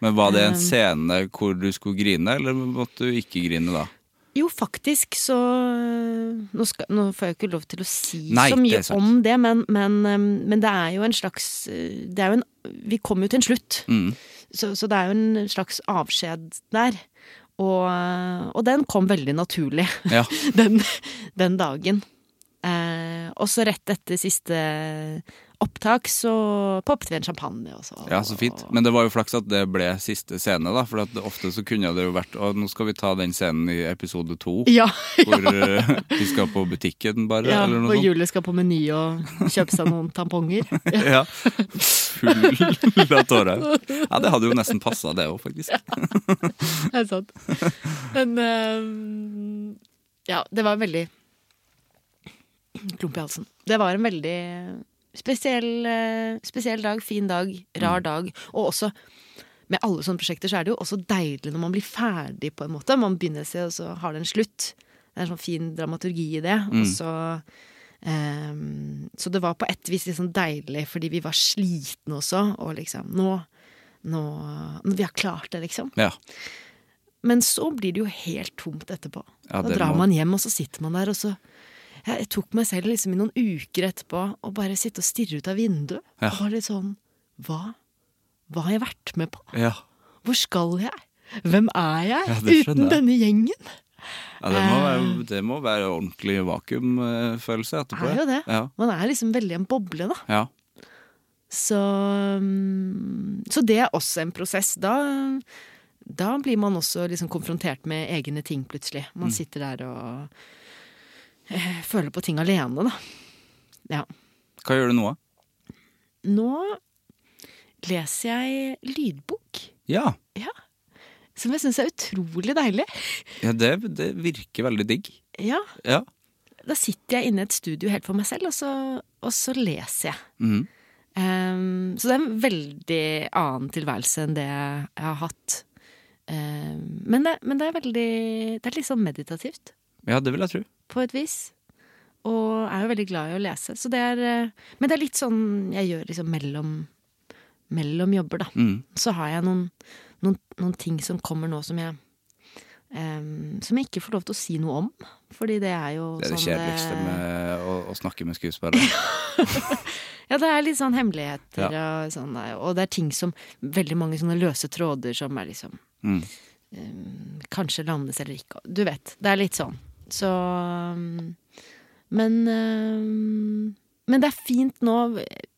Men var det en Um. scene hvor du skulle grine, eller måtte du ikke grine da? Jo, faktisk så eh, Nå, skal, nå får jeg jo ikke lov til å si Nei, så det mye er sant. om det, men, men, eh, men det er jo en slags eh, det er jo en, Vi kom jo til en slutt. Mm. Så, så det er jo en slags avskjed der. Og, eh, og den kom veldig naturlig Ja. den, den dagen. Eh, og så rett etter siste opptak så poppet vi en champagne. Og så, Ja, så fint. Men det var jo flaks at det ble siste scene, da. For at ofte så kunne det jo vært Å, nå skal vi ta den scenen i episode to. ja, Hvor eh, vi skal på butikken, bare, ja, eller hvor noe sånt. Julie skal på Meny og kjøpe seg noen tamponger. Ja. Ja. Full av tårer. Ja, det hadde jo nesten passa, det òg, faktisk. Det er sant. Men eh, ja, det var en veldig klump i halsen. Det var en veldig spesiell, eh, spesiell dag, fin dag, rar dag. Og også med alle sånne prosjekter så er det jo også deilig når man blir ferdig, på en måte. Man begynner et sted, og så har det en slutt. Det er en sånn fin dramaturgi i det. Og så eh, Så det var på et vis litt sånn deilig, fordi vi var slitne også, og liksom Nå, nå Vi har klart det, liksom. Ja. Men så blir det jo helt tomt etterpå. Ja, da det drar må- man hjem, og så sitter man der, og så Jeg jeg tok meg selv liksom i noen uker etterpå og bare sitte og stirre ut av vinduet. Ja. Og var litt sånn Hva? Hva har jeg vært med på? Ja. Hvor skal jeg? Hvem er jeg Ja, det skjønner uten jeg. denne gjengen? ja det, må være, det må være ordentlig vakuumfølelse etterpå. Det Eh. er jo det. Ja. Man er liksom veldig i en boble, da. ja. Så, mm, så det er også en prosess. Da, da blir man også liksom konfrontert med egne ting plutselig. Man sitter der og eh, føler på ting alene, da. Ja. Hva gjør du nå? da? Nå leser jeg lydbok, Ja. som jeg syns er utrolig deilig. ja det, det virker veldig digg. Ja, Ja. da sitter jeg inne i et studio helt for meg selv, og så, og så leser jeg. Mhm. Ehm, så det er en veldig annen tilværelse enn det jeg har hatt. Ehm, men, det, men det er veldig Det er litt sånn meditativt, ja, det vil jeg tro. på et vis. Og jeg er jo veldig glad i å lese. Så det er, eh, men det er litt sånn jeg gjør liksom mellom, mellom jobber, da. Mhm. Så har jeg noen, noen, noen ting som kommer nå som jeg ehm, Som jeg ikke får lov til å si noe om. Fordi det er jo Det er det sånn kjedeligste med å, å snakke med skuespillere. Ja, det er litt sånn hemmeligheter og sånn. der, Og det er ting som Veldig mange sånne løse tråder som er liksom Mm. eh, Kanskje landes eller ikke. Du vet. Det er litt sånn. Så um, Men eh, Men det er fint nå.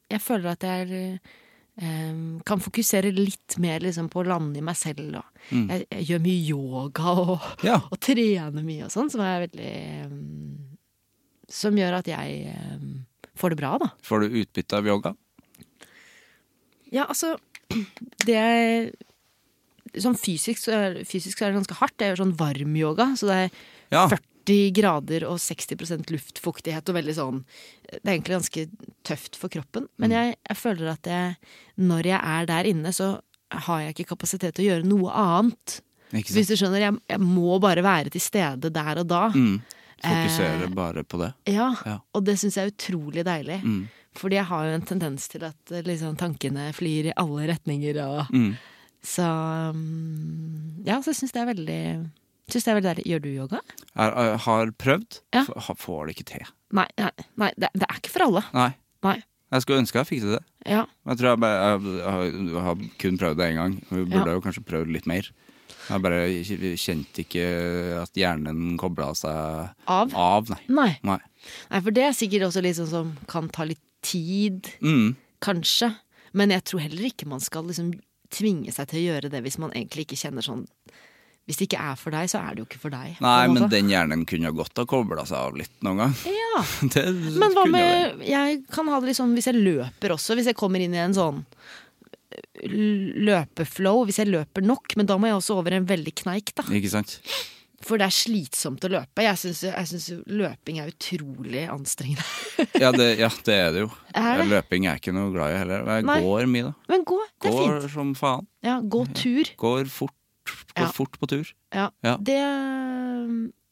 Jeg føler at jeg er eh, kan fokusere litt mer liksom, på å lande i meg selv. Og. Jeg, jeg gjør mye yoga og, Mm. Ja. og trener mye og sånn, som er veldig eh, Som gjør at jeg eh, får det bra, da. Får du utbytte av yoga? Ja, altså Det er Sånn fysisk så er, fysisk så er det ganske hardt. Jeg gjør sånn varmyoga, så det er Ja. 40 grader og 60 luftfuktighet og veldig sånn Det er egentlig ganske tøft for kroppen. Mm. Men jeg, jeg føler at jeg, når jeg er der inne, så har jeg ikke kapasitet til å gjøre noe annet. Ikke Hvis sant? du skjønner, jeg, jeg må bare være til stede der og da. Mm. Fokusere eh, bare på det. Ja, Ja. Mm. og det syns jeg er utrolig deilig. Fordi jeg har jo en tendens til at eh, liksom, tankene flyr i alle retninger. Og, Så mm, Ja, så jeg syns det er veldig Synes det er veldig deilig. Gjør du yoga? Jeg, jeg har prøvd, Ja. f- ha- får det ikke til. Nei, nei, nei det, det er ikke for alle. Nei. Nei. Jeg skulle ønske jeg fikk til det. Ja. Jeg tror jeg, bare, jeg, har- jeg har kun prøvd det én gang. Vi burde Ja. jo kanskje prøvd litt mer. Jeg bare k- kjente ikke at hjernen kobla seg Av? Av, nei. Nei. nei. nei. For det er sikkert også litt sånn som kan ta litt tid, Mm. kanskje. Men jeg tror heller ikke man skal liksom tvinge seg til å gjøre det hvis man egentlig ikke kjenner sånn Hvis det ikke er for deg, så er det jo ikke for deg. på en Nei, men måte. den hjernen kunne godt ha kobla seg av litt noen gang. Ja. Det Men hva kunne det. med Jeg kan ha det litt sånn hvis jeg løper også. Hvis jeg kommer inn i en sånn l- løpeflow. Hvis jeg løper nok, men da må jeg også over en veldig kneik, da. Ikke sant? For det er slitsomt å løpe. Jeg syns, jeg syns jo løping er utrolig anstrengende. Ja det, ja, det er det jo. Er det? Løping er jeg ikke noe glad i heller. Jeg Nei. går mye, da. Men gå, det er Går fint. som faen. Ja, gå tur. Går fort. Går Ja. fort på tur. Ja, Ja. det,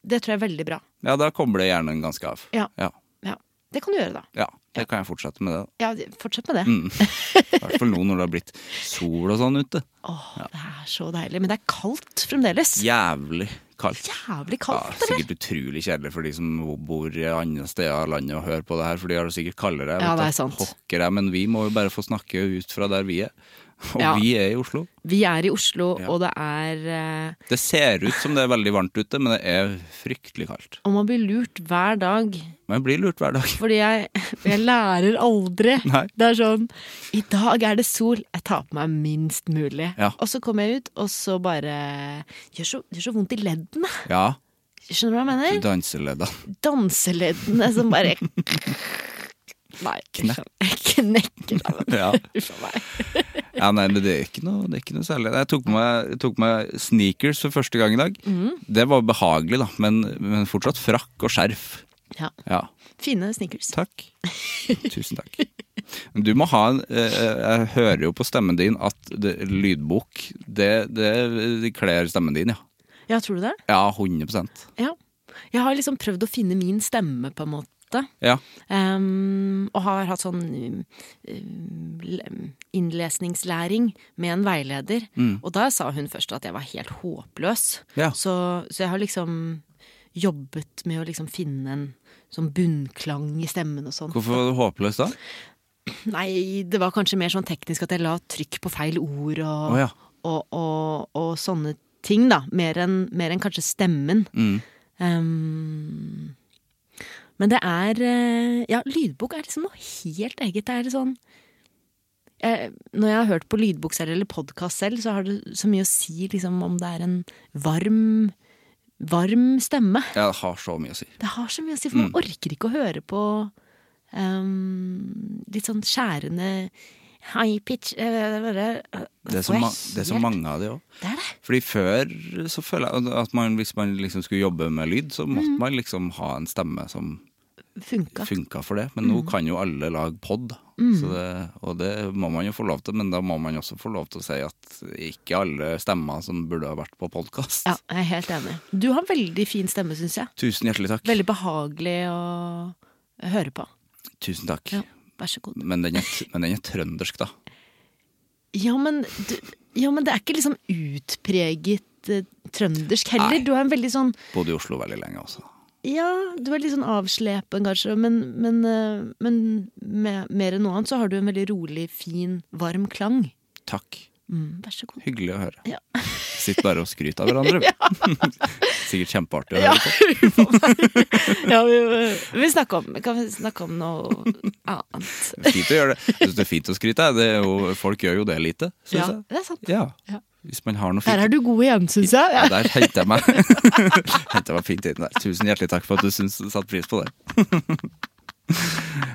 det tror jeg er veldig bra. Ja, da kobler hjernen ganske av. Ja. Ja, Ja, det kan du gjøre, da. ja. Det kan jeg fortsette med, det. da. Ja, fortsett med det. Mm. I hvert fall nå når det har blitt sol og sånn ute. Åh, det er så deilig. Men det er kaldt fremdeles. Jævlig kaldt. Jævlig Ja, kaldt, eller? sikkert utrolig kjedelig for de som bor i andre steder av landet og hører på det her, for de har det sikkert kaldere. jeg Ja, vet det er at sant. Pokker jeg, men vi må jo bare få snakke ut fra der vi er. Og Ja. vi er i Oslo. Vi er i Oslo, Ja. og det er eh, Det ser ut som det er veldig varmt ute, men det er fryktelig kaldt. Og man blir lurt hver dag. Men jeg blir lurt hver dag. Fordi jeg, jeg lærer aldri. Nei. Det er sånn I dag er det sol. Jeg tar på meg minst mulig. Ja. Og så kommer jeg ut, og så bare Gjør så, gjør så vondt i leddene. Ja, Skjønner du hva jeg mener? danseleddene. Danseleddene som bare Nei, jeg knekker av det. Ja. Uff a meg. Ja, nei, men det er ikke noe, det er ikke noe særlig. Jeg tok på meg, jeg tok på meg sneakers for første gang i dag. Det var behagelig, da, men, men fortsatt frakk og skjerf. Ja. Ja, Fine sneakers. takk. Tusen takk. Men Du må ha en eh, eh, Jeg hører jo på stemmen din at det, lydbok det, det, det kler stemmen din, ja. Ja, tror du det? Ja, 100 Ja. Jeg har liksom prøvd å finne min stemme, på en måte. Ja. Ehm, og har hatt sånn um, um, le- innlesningslæring med en veileder. Og da sa hun først at jeg var helt håpløs. Mm. Ja. Så, så jeg har liksom jobbet med å liksom finne en sånn bunnklang i stemmen og sånn. Hvorfor var du håpløs da? Nei, det var kanskje mer sånn teknisk at jeg la trykk på feil ord og, Å ja. og, og, og sånne ting, da. Mer enn mer enn kanskje stemmen. Mm. Um, men det er eh, Ja, lydbok er liksom noe helt eget. Det er sånn jeg, Når jeg har hørt på lydbok selv eller podkast selv, så har det så mye å si liksom, om det er en varm, varm stemme. Jeg har så mye å si. Det har så mye å si, for Mm. man orker ikke å høre på ehm, litt sånn skjærende high pitch eh, Det er Det er så, ma det er så mange av de òg. Det er det. Fordi før så føler jeg at man, hvis man liksom skulle jobbe med lyd, så måtte Mhm. man liksom ha en stemme som Funka. funka for det. Men nå Mhm. kan jo alle lage pod, så det, og det må man jo få lov til. Men da må man også få lov til å si at ikke alle stemmer som burde ha vært på podkast. Ja, jeg er helt enig. Du har veldig fin stemme, syns jeg. Tusen hjertelig takk. Veldig behagelig å høre på. Tusen takk. Ja, vær så god. Men, den er, t- men den er trøndersk, da. Ja, men, du, ja, men det er ikke liksom utpreget eh, trøndersk heller. Nei. Du er en veldig sånn Bodde i Oslo veldig lenge også. Ja, du er litt sånn avslepen kanskje, men, men, eh, men med, mer enn noe annet så har du en veldig rolig, fin, varm klang. Takk. Mm, vær så god. Hyggelig å høre. Ja. Sitter bare og skryter av hverandre. Sikkert kjempeartig å høre på. Ja, vi, vi snakker om, kan vi snakke om noe annet? Fint å gjøre det. Jeg synes det er fint å skryte. jeg. Det er jo, folk gjør jo det lite, syns Ja, jeg. det er sant. Ja. Ja. Hvis man har noe Der fint. er du god igjen, syns jeg. Ja, Ja. der henter jeg meg. henter jeg meg fint inn der. Tusen hjertelig takk for at du syns satte pris på det.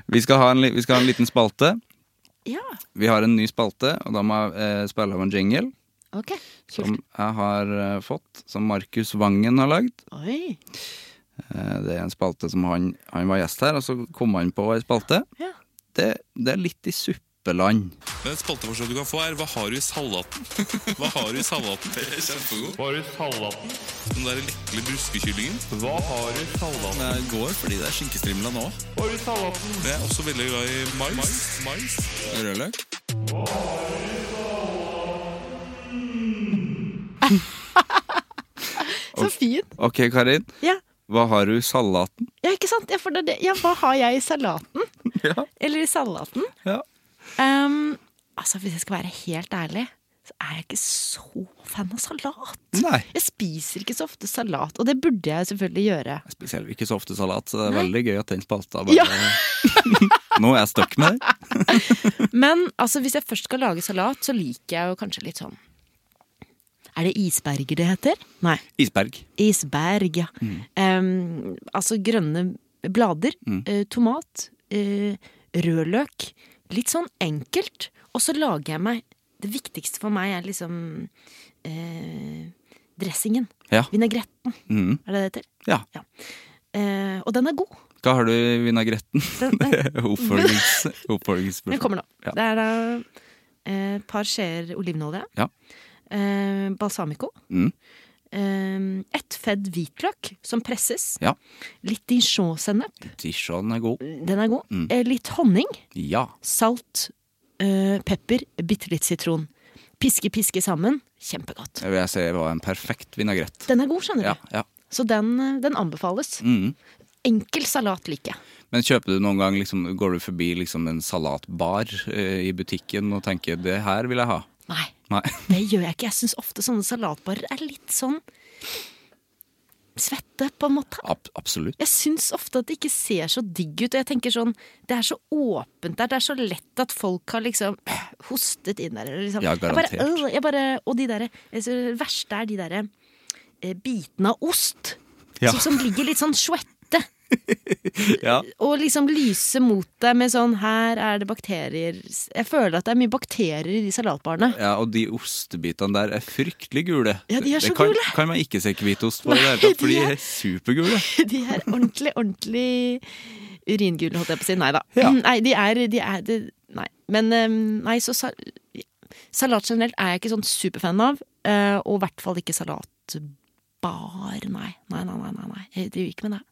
vi, skal ha en, li- vi skal ha en liten spalte Ja, Vi har en ny spalte, og da må jeg eh, spille av en jingle ok. som Kult. jeg har eh, fått, som Markus Vangen har lagd. Oi. Eh, det er en spalte som han, han var gjest her, og så kom han på ei spalte. Ja. Det, det er litt i suppeland. Men et spalteforslag du kan få, er 'Hva har du i salaten?' Hva har du i salaten? Det er kjempegod. Hva har du i salaten? Den der lekle bruskekyllingen. Hva har du i salaten? Jeg går fordi det er skinkestrimla nå. Hva har du i salaten? Jeg er også veldig glad i mais. Rødløk. Så fint. Ok, Karin. Ja. Hva har du i salaten? ja, ikke sant? Ja, for det er det. ja, hva har jeg i salaten? Ja. Eller i salaten? Ja. Ehm, altså, hvis jeg skal være helt ærlig, så er jeg ikke så fan av salat. Nei. Jeg spiser ikke så ofte salat, og det burde jeg selvfølgelig gjøre. Jeg spiser heller ikke så ofte salat, så det er veldig gøy at den spalta bare Ja. Nå er jeg stuck med det. Men altså, hvis jeg først skal lage salat, så liker jeg jo kanskje litt sånn Er det isberger det heter? Nei. Isberg. Isberg, ja. Mm. Em, altså grønne blader, Mm. eh, tomat, eh, rødløk. Litt sånn enkelt. Og så lager jeg meg Det viktigste for meg er liksom eh, dressingen. Ja. Vinagretten, Mm. er det det heter? ja. Ja. Eh, og den er god. Hva har du i vinagretten? Den, den, Oppfølgings- den Oppfølgingsspørsmål. kommer nå. Ja. Det er da eh, et par skjeer olivenolje. Ja. Eh, balsamico. Mm. Eh, ett fedd hvitløk som presses. Ja. Litt dijon-sennep. Dijon er god. Den er god. Mm. Eh, Litt honning, Ja. salt, eh, pepper, bitte litt sitron. Piske, piske sammen. Kjempegodt. Det vil jeg si var en perfekt vinagrett. Den er god, skjønner du. Ja, ja. Så den, eh, den anbefales. Mm. Enkel salat liker jeg. Men kjøper du noen gang liksom, Går du forbi liksom en salatbar eh, i butikken og tenker 'det her vil jeg ha'? Nei, Nei. det gjør jeg ikke. Jeg syns ofte sånne salatbarer er litt sånn svette, på en måte. Ab absolutt. Jeg syns ofte at det ikke ser så digg ut. Og jeg tenker sånn, det er så åpent der. Det er så lett at folk har liksom hostet inn der. eller Liksom. Ja, jeg bare, garantert. øh, jeg bare, og de derre jeg synes Det verste er de derre eh, bitene av ost Ja. som, som ligger litt sånn svette. Ja. Og liksom lyse mot deg med sånn Her er det bakterier Jeg føler at det er mye bakterier i de salatbarene. Ja, og de ostebitene der er fryktelig gule. Ja, de er så det kan, gule. kan man ikke se hvitost på, i det Nei, hele tatt, for de de er- er supergule. De er ordentlig, ordentlig uringule, holdt jeg på å si. Nei da. Ja. Nei, de er, de er de, Nei. Men ehm, nei, så sa, salat generelt er jeg ikke sånn superfan av. eh, Og i hvert fall ikke salatbar. Nei. Nei, nei, nei. nei, nei. Jeg driver ikke med det.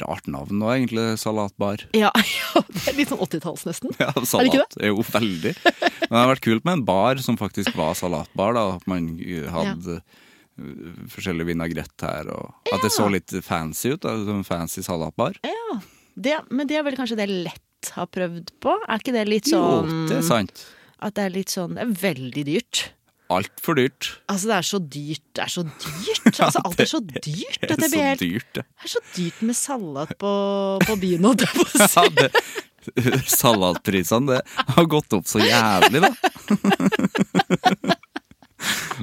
Rart navn nå, egentlig. Salatbar. Ja, ja Det er litt sånn 80-talls, nesten. Ja, Er det ikke salat. det? Jo, veldig. Men det hadde vært kult med en bar som faktisk var salatbar. da, At man uh, hadde uh, forskjellig vinagrett her, og at det så litt fancy ut. da, som en Fancy salatbar. Ja, det, Men det er vel kanskje det lett har prøvd på? Er ikke det litt Jo, sånn det er sant. At det er litt sånn Det er veldig dyrt. Altfor dyrt. Altså, det er så dyrt. Det er så dyrt. Altså, alt er så dyrt. Det er Dette blir så helt dyrt, det. Det er så dyrt med salat på, på byen, holdt jeg på å si. Ja, det. Salatprisene det har gått opp så jævlig, da.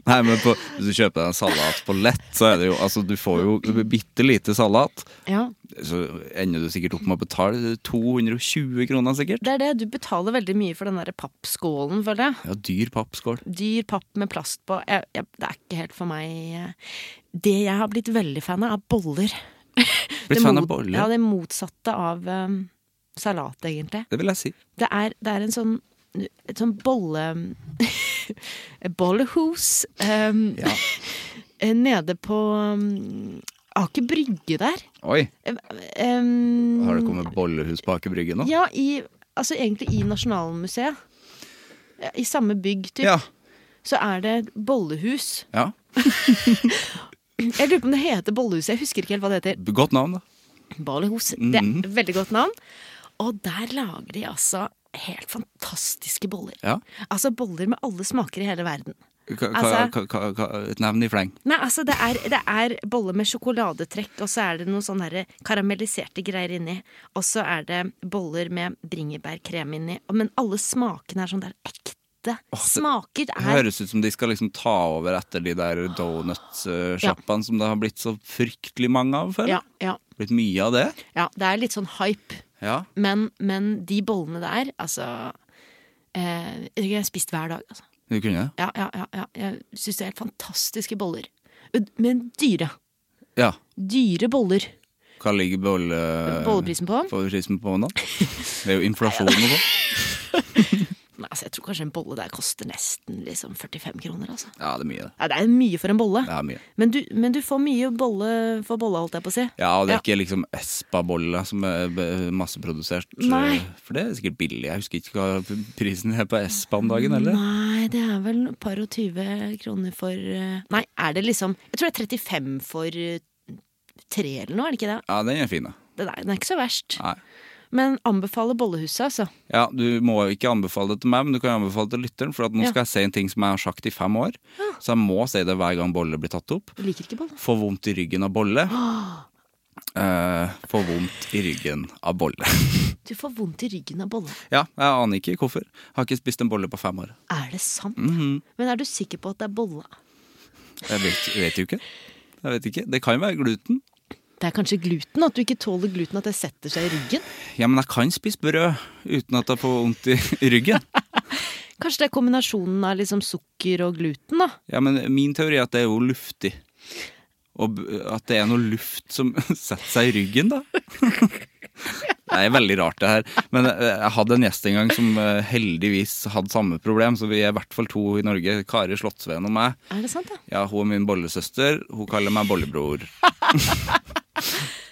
Nei, men på, hvis du kjøper deg en salat på lett, så er det jo Altså, du får jo bitte lite salat. Ja, Så ender du sikkert opp med å betale 220 kroner, sikkert. det er det. Du betaler veldig mye for den der pappskålen, føler jeg. Ja, dyr pappskål. Dyr papp med plast på. Jeg, jeg, det er ikke helt for meg. eh, Det jeg har blitt veldig fan av, er boller. Det Blitt fan av mot- boller. Ja, det motsatte av um, salat, egentlig. Det vil jeg si. Det er, det er en sånn et sånn bolle... Bollehus. Um, Ja. Nede på um, Aker Brygge der. Eh, Oi, Um, har det kommet bollehus på Aker Brygge nå? Ja, i, altså egentlig i Nasjonalmuseet. Ja, I samme bygg, typ. Ja. Så er det et bollehus. Ja. Jeg lurer på om det heter bollehus. Jeg husker ikke helt hva det heter. Godt navn, da. Bollehus. Det Mhm. er et Veldig godt navn. Og der lager de altså helt fantastiske boller. Ja. Altså boller med alle smaker i hele verden. Ka, ka, Altså- ka, ka, ka, et navn i fleng. Nei, altså det er, det er boller med sjokoladetrekk, og så er det noen sånne her karamelliserte greier inni. Og så er det boller med bringebærkrem inni. Og- Men alle smakene er sånn der ekte smaker. Det Det er høres ut som de skal liksom ta over etter de der donutsjappene som det har blitt så fryktelig mange av før. ja, ja, Blitt mye av det. ja, det er litt sånn hype. Ja. Men, men de bollene der, altså eh, jeg tror jeg har spist hver dag. Altså. Du kunne det? Ja, ja, ja, ja. Jeg syns det er helt fantastiske boller. Men dyre. Ja. Dyre boller. Hva ligger bolle... Bolleprisen på? bolleprisen på nå? Det er jo inflasjon og sånn. Nei, altså, jeg tror kanskje en bolle der koster nesten liksom 45 kroner. Altså. Ja, det er mye. det. Ja, det er mye for en bolle. Det er mye. Men, du, men du får mye bolle for bolla, holdt jeg på å si. Ja, og det er ikke liksom Espa-bolle som er b- masseprodusert. eh, Nei. For det er sikkert billig. Jeg husker ikke hva prisen er på Espa om dagen, eller? Nei, det er vel et par og 20 kroner for eh, Nei, er det liksom Jeg tror det er 35 for eh, tre eller noe, er det ikke det? Ja, den er fin, da. Det der, den er ikke så verst. Nei. Men anbefaler bollehuset, altså. Ja, Du må ikke anbefale det til meg, men du kan anbefale det til lytteren. For at nå Ja. skal jeg si en ting som jeg har sagt i fem år. Så jeg må si det hver gang bolle blir tatt opp. Jeg liker ikke bolle. Få vondt i ryggen av bolle. Eh, få vondt i ryggen av bolle. Du får vondt i ryggen av bolle. ja, jeg aner ikke hvorfor. Har ikke spist en bolle på fem år. Er det sant? Mhm. Men er du sikker på at det er bolle? Jeg vet, vet jo ikke. Jeg vet ikke. Det kan jo være gluten. Det er kanskje gluten? At du ikke tåler gluten? At det setter seg i ryggen? Ja, men jeg kan spise brød uten at jeg får vondt i ryggen. Kanskje det er kombinasjonen av liksom sukker og gluten, da. Ja, men min teori er at det er jo luftig. Og b- at det er noe luft som setter seg i ryggen, da. Det er veldig rart, det her. Men eh, jeg hadde en gjest en gang som eh, heldigvis hadde samme problem, så vi er i hvert fall to i Norge. Kari Slottsveen og meg. Er det sant, da? Ja, hun er min bollesøster. Hun kaller meg bollebror.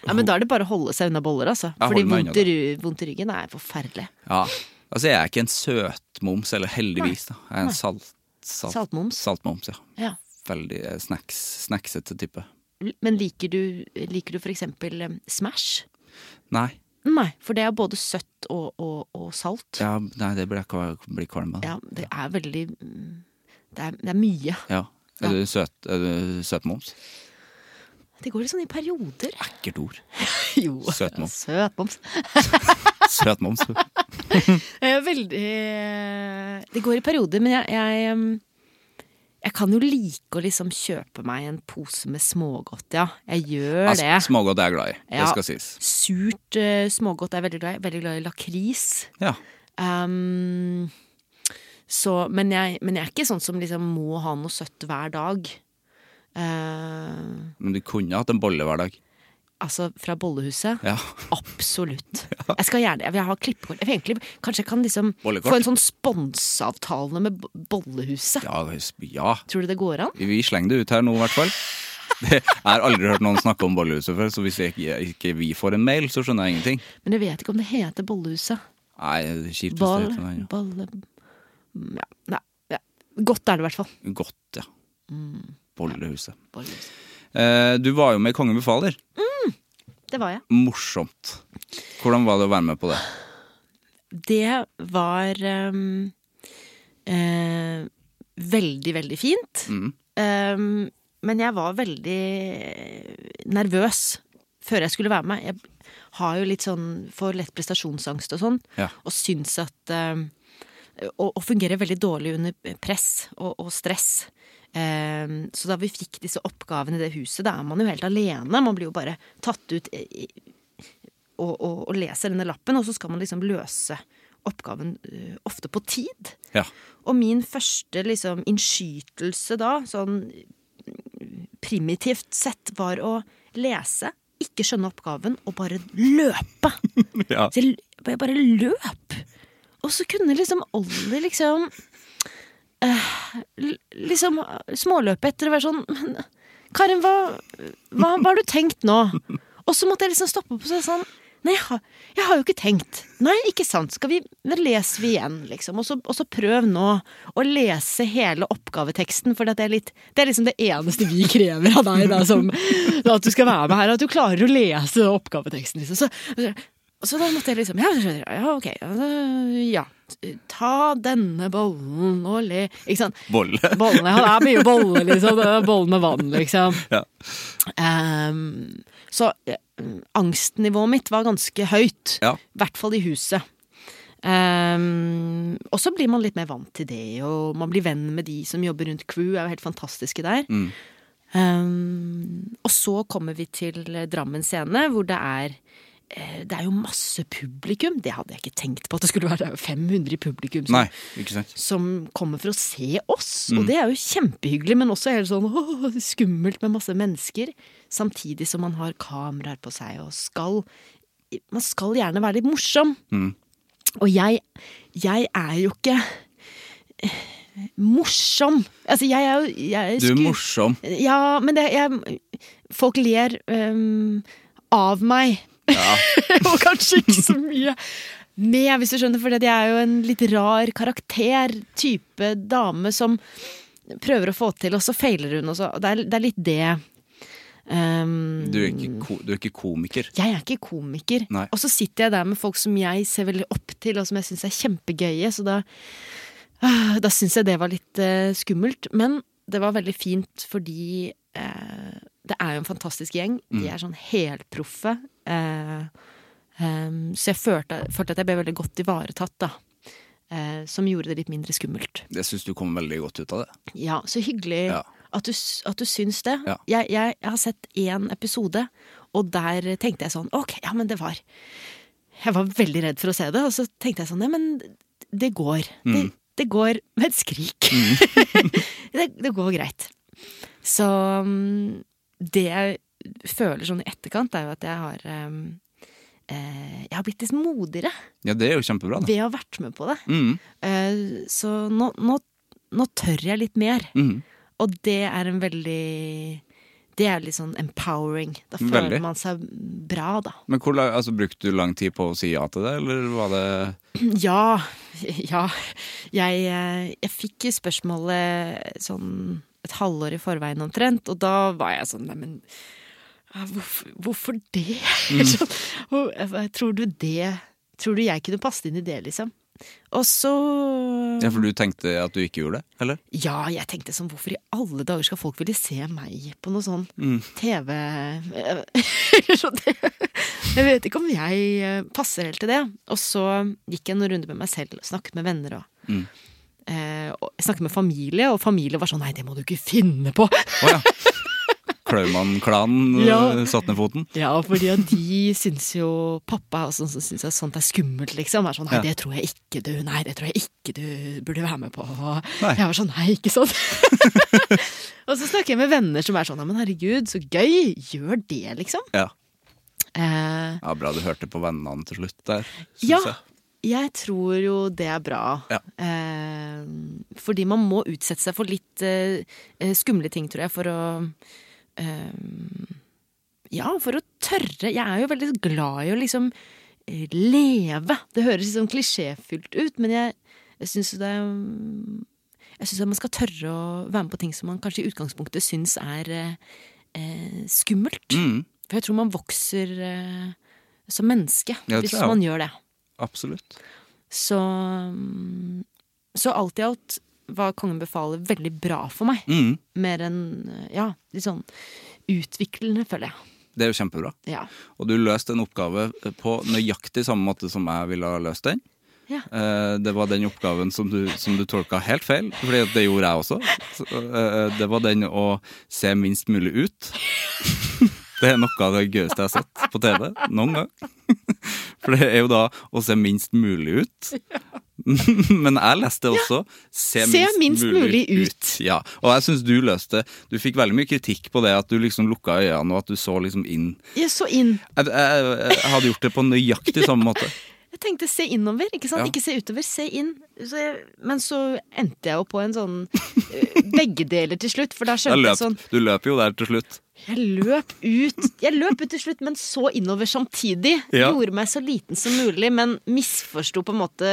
Ja, men da er det bare å holde seg unna boller, altså. Ja, Fordi hold meg unna vondt i, ry- vondt i ryggen er forferdelig. Ja. Altså, jeg er ikke en søtmoms, eller heldigvis, da. Jeg er en salt, salt, Saltmoms. Saltmoms, ja. Ja. Veldig eh, snacks, snacksete type. Men liker du, liker du for eksempel eh, Smash? Nei. Nei, for det er både søtt og, og, og salt. Ja, nei, det blir jeg blir kvalm av. Ja, det er veldig mm, det er, det er mye. Ja. Er du søt, er du søtmoms? Det går litt sånn i perioder. Ekkelt ord. Jo. Søtmoms. Søtmoms. Søtmoms. Jeg er veldig eh, Det går i perioder, men jeg, jeg em, jeg kan jo like å liksom kjøpe meg en pose med smågodt, ja. Jeg gjør Ja, det. s- Smågodt er jeg glad i. Ja. Det skal sies. Surt eh, smågodt er jeg veldig glad i. Veldig glad i lakris. Ja. Ehm, så, men, jeg, men jeg er ikke sånn som liksom må ha noe søtt hver dag. Ehm, Men du kunne hatt en bolle hver dag. altså fra bollehuset. Ja. Absolutt. Jeg skal gjerne Jeg vil ha klippekort. Jeg vil egentlig, kanskje jeg kan liksom Bollekort. få en sånn sponseavtale med bo- bollehuset. Ja, s- ja. Tror du det går an? Vi slenger det ut her nå, i hvert fall. Det, jeg har aldri hørt noen snakke om bollehuset før, så hvis ikke, ikke vi får en mail, så skjønner jeg ingenting. Men jeg vet ikke om det heter bollehuset. Nei, det kjipeste Ball, heter det, balle ja, Nei. Ja. Godt er det i hvert fall. ja. Godt, ja. Mm. Bollehuset. Bollehuset. Eh, du var jo med i Kongen befaler. Det var jeg. Morsomt. Hvordan var det å være med på det? Det var ehm, eh, veldig, veldig fint. Ehm, men jeg var veldig nervøs før jeg skulle være med. Jeg har jo litt sånn for lett prestasjonsangst og sånn, Ja. og syns at ehm, og, og fungerer veldig dårlig under press og, og stress. Ehm, så da vi fikk disse oppgavene i det huset, da er man jo helt alene. Man blir jo bare tatt ut i, og, og, og leser denne lappen, og så skal man liksom løse oppgaven eh, ofte på tid. Ja. Og min første liksom innskytelse da, sånn mm, primitivt sett, var å lese, ikke skjønne oppgaven, og bare løpe. Ja. Så jeg, l- jeg bare løp. Og så kunne liksom Olli liksom eh, l- Liksom småløpe etter og være sånn Men Karin, hva, hva, hva har du tenkt nå? Og så måtte jeg liksom stoppe opp og så er jeg sånn Nei, jeg har, jeg har jo ikke tenkt. Nei, ikke sant. Skal vi Da leser vi igjen, liksom. Og så, og så prøv nå å lese hele oppgaveteksten, for det er, litt, det er liksom det eneste vi krever av deg, da, som At du skal være med her, og at du klarer å lese oppgaveteksten, liksom. Så, så da måtte jeg liksom Ja, ja ok. ja, da- Ja. Ta denne bollen og le Ikke sant? Bolle. Bollene, ja, det er mye bolle, liksom. Det er Bolle med vann, liksom. Ja. Ehm, så eh, angstnivået mitt var ganske høyt. I Ja. hvert fall i huset. Ehm, og så blir man litt mer vant til det, og man blir venn med de som jobber rundt crew. er jo helt fantastiske der. Mm. Ehm, og så kommer vi til eh, Drammen scene, hvor det er eh, det er jo masse publikum. Det hadde jeg ikke tenkt på at det skulle være. Det er jo 500 i publikum som, Nei, ikke sant? som kommer for å se oss. Mm. Og det er jo kjempehyggelig, men også helt sånn åh, skummelt med masse mennesker. Samtidig som man har kameraer på seg og skal Man skal gjerne være litt morsom. Mm. Og jeg, jeg er jo ikke eh, morsom. Altså, jeg er jo jeg Du er sku- morsom. ja, men det, jeg, folk ler øhm, av meg. og kanskje ikke så mye med, hvis du skjønner, for jeg er jo en litt rar karakter, type dame som prøver å få til, og så feiler hun. Og så. og Det, er, det er litt det. ehm, Øhm, Du er ikke, ko du er ikke komiker. jeg er ikke komiker. Nei. Og så sitter jeg der med folk som jeg ser veldig opp til, og som jeg syns er kjempegøye, så da, ah, da syns jeg det var litt eh, skummelt. Men det var veldig fint fordi eh, det er jo en fantastisk gjeng. De er sånn helproffe. Eh, em, så jeg følte, følte at jeg ble veldig godt ivaretatt, da. Eh, som gjorde det litt mindre skummelt. Jeg syns du kom veldig godt ut av det. Ja, så hyggelig Ja. at, du, s- at du syns det. Ja. Jeg, jeg, jeg har sett én episode, og der tenkte jeg sånn Ok, ja, men det var Jeg var veldig redd for å se det, og så tenkte jeg sånn Nei, men det går. Det, Mm. det går med et skrik. det, det går greit. Så mm, det jeg føler sånn i etterkant, er jo at jeg har em, eh, Jeg har blitt litt modigere Ja, det er jo kjempebra, det. ved å ha vært med på det. Mm. Eh, Så nå, nå, nå tør jeg litt mer. Mhm. Og det er en veldig Det er litt sånn empowering. Da føler Veldig. man seg bra, da. Men hvor, la- altså, brukte du lang tid på å si ja til det, eller var det Ja. Ja. Jeg, eh, jeg fikk spørsmålet sånn et halvår i forveien omtrent, og da var jeg sånn Neimen, hvorfor, hvorfor det? Mm. Sånn, «Å, jeg- Tror du det Tror du jeg kunne passe inn i det, liksom? Og så Ja, for du tenkte at du ikke gjorde det, eller? Ja, jeg tenkte sånn, hvorfor i alle dager skal folk ville se meg på noe sånn TV Eller sånn, det- Jeg vet ikke om jeg eh, passer helt til det. Og så gikk jeg noen runder med meg selv og snakket med venner og eh, og jeg snakket med familie, og familie var sånn Nei, det må du ikke finne på! Å ja. Klaumann-klanen eh, Ja. satt ned foten? Ja, fordi at de syns jo Pappa og sånn som syns at sånt er skummelt, liksom. Er sånn Nei, Ja. det tror jeg ikke du Nei, det tror jeg ikke du burde være med på. Og Nei. jeg var sånn Nei, ikke sant? og så snakker jeg med venner som er sånn Ja, men herregud, så gøy! Gjør det, liksom. Ja. Eh, ja, bra du hørte på vennene til slutt der. synes ja. jeg. Jeg tror jo det er bra. Ja. Eh, fordi man må utsette seg for litt eh, eh, skumle ting, tror jeg, for å eh, Ja, for å tørre. Jeg er jo veldig glad i å liksom eh, leve. Det høres litt sånn klisjéfylt ut, men jeg, jeg syns det er mm, Jeg syns at man skal tørre å være med på ting som man kanskje i utgangspunktet syns er eh, eh, skummelt. Mm. For jeg tror man vokser eh, som menneske Ja, det hvis tror jeg man også. gjør det. Absolutt. Så, mm, så alt i alt var Kongen befaler veldig bra for meg. Mm. Mer enn ja, litt sånn utviklende, føler jeg. Det er jo kjempebra. Ja. Og du løste en oppgave eh, på nøyaktig samme måte som jeg ville ha løst den. Ja. Eh, Det var den oppgaven som du, som du tolka helt feil, Fordi at det gjorde jeg også. Så, eh, Det var den å se minst mulig ut. Det er noe av det gøyeste jeg har sett på TV noen gang. For det er jo da å se minst mulig ut. Men jeg leste også se, Se minst mulig ut. Ja, Og jeg syns du løste Du fikk veldig mye kritikk på det at du liksom lukka øynene og at du så liksom inn. Jeg så inn. Jeg, jeg, jeg hadde gjort det på nøyaktig samme måte. Jeg tenkte se innover, ikke sant? Ja. Ikke se utover, se inn. Så jeg, men så endte jeg jo på en sånn eh, begge deler til slutt, for da Jeg skjønte jeg sånn løp, du løp jo der til slutt. Jeg løp ut Jeg løp ut til slutt, men så innover samtidig. Ja. Gjorde meg så liten som mulig, men misforsto på en måte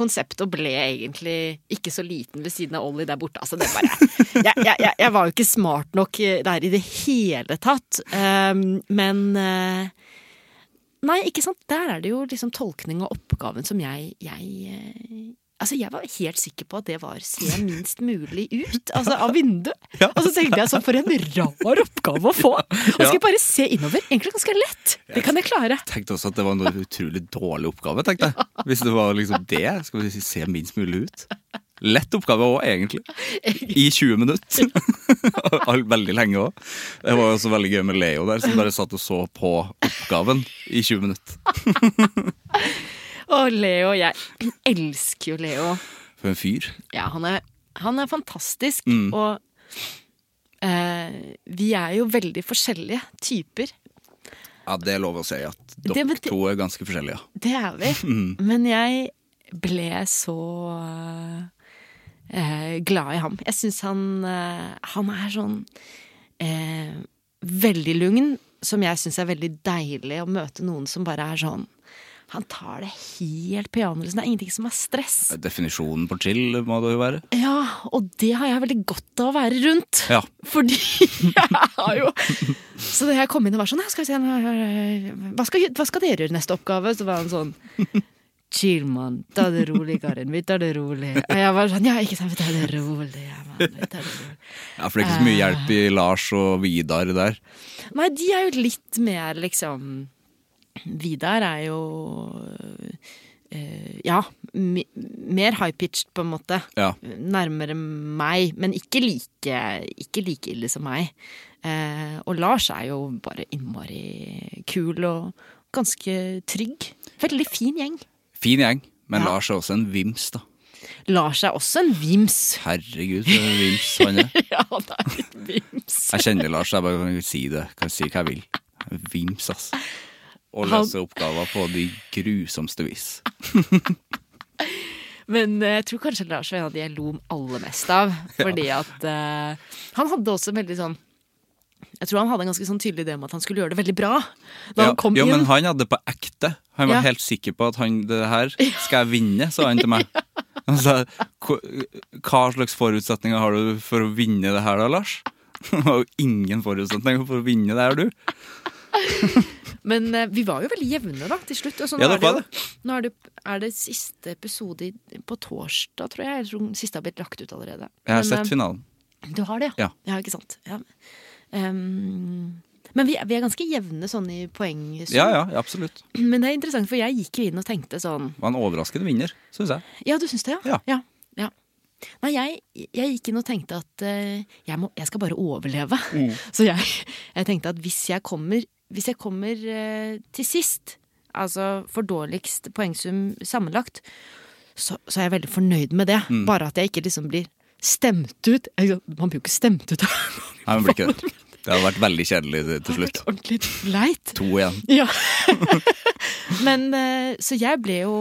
konseptet og ble egentlig ikke så liten ved siden av Ollie der borte. Altså, det bare jeg, jeg, jeg, jeg var jo ikke smart nok eh, der i det hele tatt. Ehm, men eh, Nei, ikke sant. Der er det jo liksom tolkning av oppgaven som jeg, jeg eh, Altså, Jeg var helt sikker på at det var se minst mulig ut altså av vinduet. Og så tenkte jeg sånn, for en rar oppgave å få! Og Ja. skal bare se innover. Egentlig ganske lett. Det kan jeg klare. tenkte også at det var en utrolig dårlig oppgave. tenkte jeg. Hvis det var liksom det, skal vi si, se minst mulig ut. Lett oppgave òg, egentlig. I 20 minutter. Al- veldig lenge òg. Det var jo også veldig gøy med Leo der, som bare satt og så på oppgaven i 20 minutter. Og Leo, jeg elsker jo Leo. For en fyr. Ja, han er, han er fantastisk. Og eh, vi er jo veldig forskjellige typer. Ja, Det er lov å si at Det, dere men det- to er ganske forskjellige. ja. Det er vi. Men jeg ble så eh, glad i ham. Jeg syns han eh, Han er sånn eh, veldig lugn, som jeg syns er veldig deilig å møte noen som bare er sånn Han tar det helt på janusen. Det er ingenting som er stress. Definisjonen på chill må det jo være. Ja, og det har jeg veldig godt av å være rundt. Ja. Fordi jeg har jo Så da jeg kom inn og var sånn «Nei, skal vi se, hva, skal, hva skal dere gjøre i neste oppgave? Så var han sånn Chill, mann. Ta det rolig, Karin. Vi tar det rolig. Og jeg var sånn Ja, ikke sant. Vi tar det rolig. Ja, mann. Vi tar det rolig. Ja, For det er ikke så mye hjelp Eh. i Lars og Vidar der. Nei, de er jo litt mer liksom Vidar er jo eh, Ja, mi- mer high-pitched, på en måte. Ja. nærmere meg, men ikke like, ikke like ille som meg. Eh, og Lars er jo bare innmari kul og ganske trygg. Veldig fin gjeng. Fin gjeng, men Ja. Lars er også en vims, da. Lars er også en vims. Herregud, for en vims han er. ja, han er litt vims. Jeg kjenner Lars, jeg bare kan si det. Kan si hva jeg vil. Vims, ass. Og Han- løse oppgaver på de grusomste vis. Men eh, jeg tror kanskje Lars var en av de jeg lo aller mest av. Fordi at eh, han hadde også en veldig sånn Jeg tror han hadde en ganske sånn tydelig idé om at han skulle gjøre det veldig bra. Da han kom jo, inn. men han hadde det på ekte. Han var Ja. helt sikker på at han, det her skal jeg vinne, sa han til meg. Han sa "Hva- hva slags forutsetninger har du for å vinne det her da, Lars? Det var jo ingen forutsetninger for å vinne det her, du. Men eh, vi var jo veldig jevne da, til slutt. Og så nå Ja, dere er det, var jo, nå er det, er det siste episode i- på torsdag, tror jeg. Jeg tror den siste har blitt lagt ut allerede. Jeg har Men, sett eh, finalen. Du har det, Ja. ja ikke sant. Ja. Ehm, men vi, er- vi er ganske jevne sånn i poeng. så- Ja, ja, absolutt. Det Men det er interessant, for jeg gikk jo inn og tenkte sånn var en overraskende vinner, syns jeg. Ja, du syns det, ja? Ja. ja. ja. Nei, jeg, jeg gikk inn og tenkte at eh, jeg, må, jeg skal bare overleve. Mm. Så jeg, jeg tenkte at hvis jeg kommer, hvis jeg kommer eh, til sist, altså for dårligst poengsum sammenlagt, så, så er jeg veldig fornøyd med det. Mm. Bare at jeg ikke liksom blir stemt ut. Jeg- Man blir jo ikke stemt ut. Det Nei, men blir ikke det. Det hadde vært veldig kjedelig til- til har vært slutt. ordentlig leit. To igjen. Ja. Men eh, Så jeg ble jo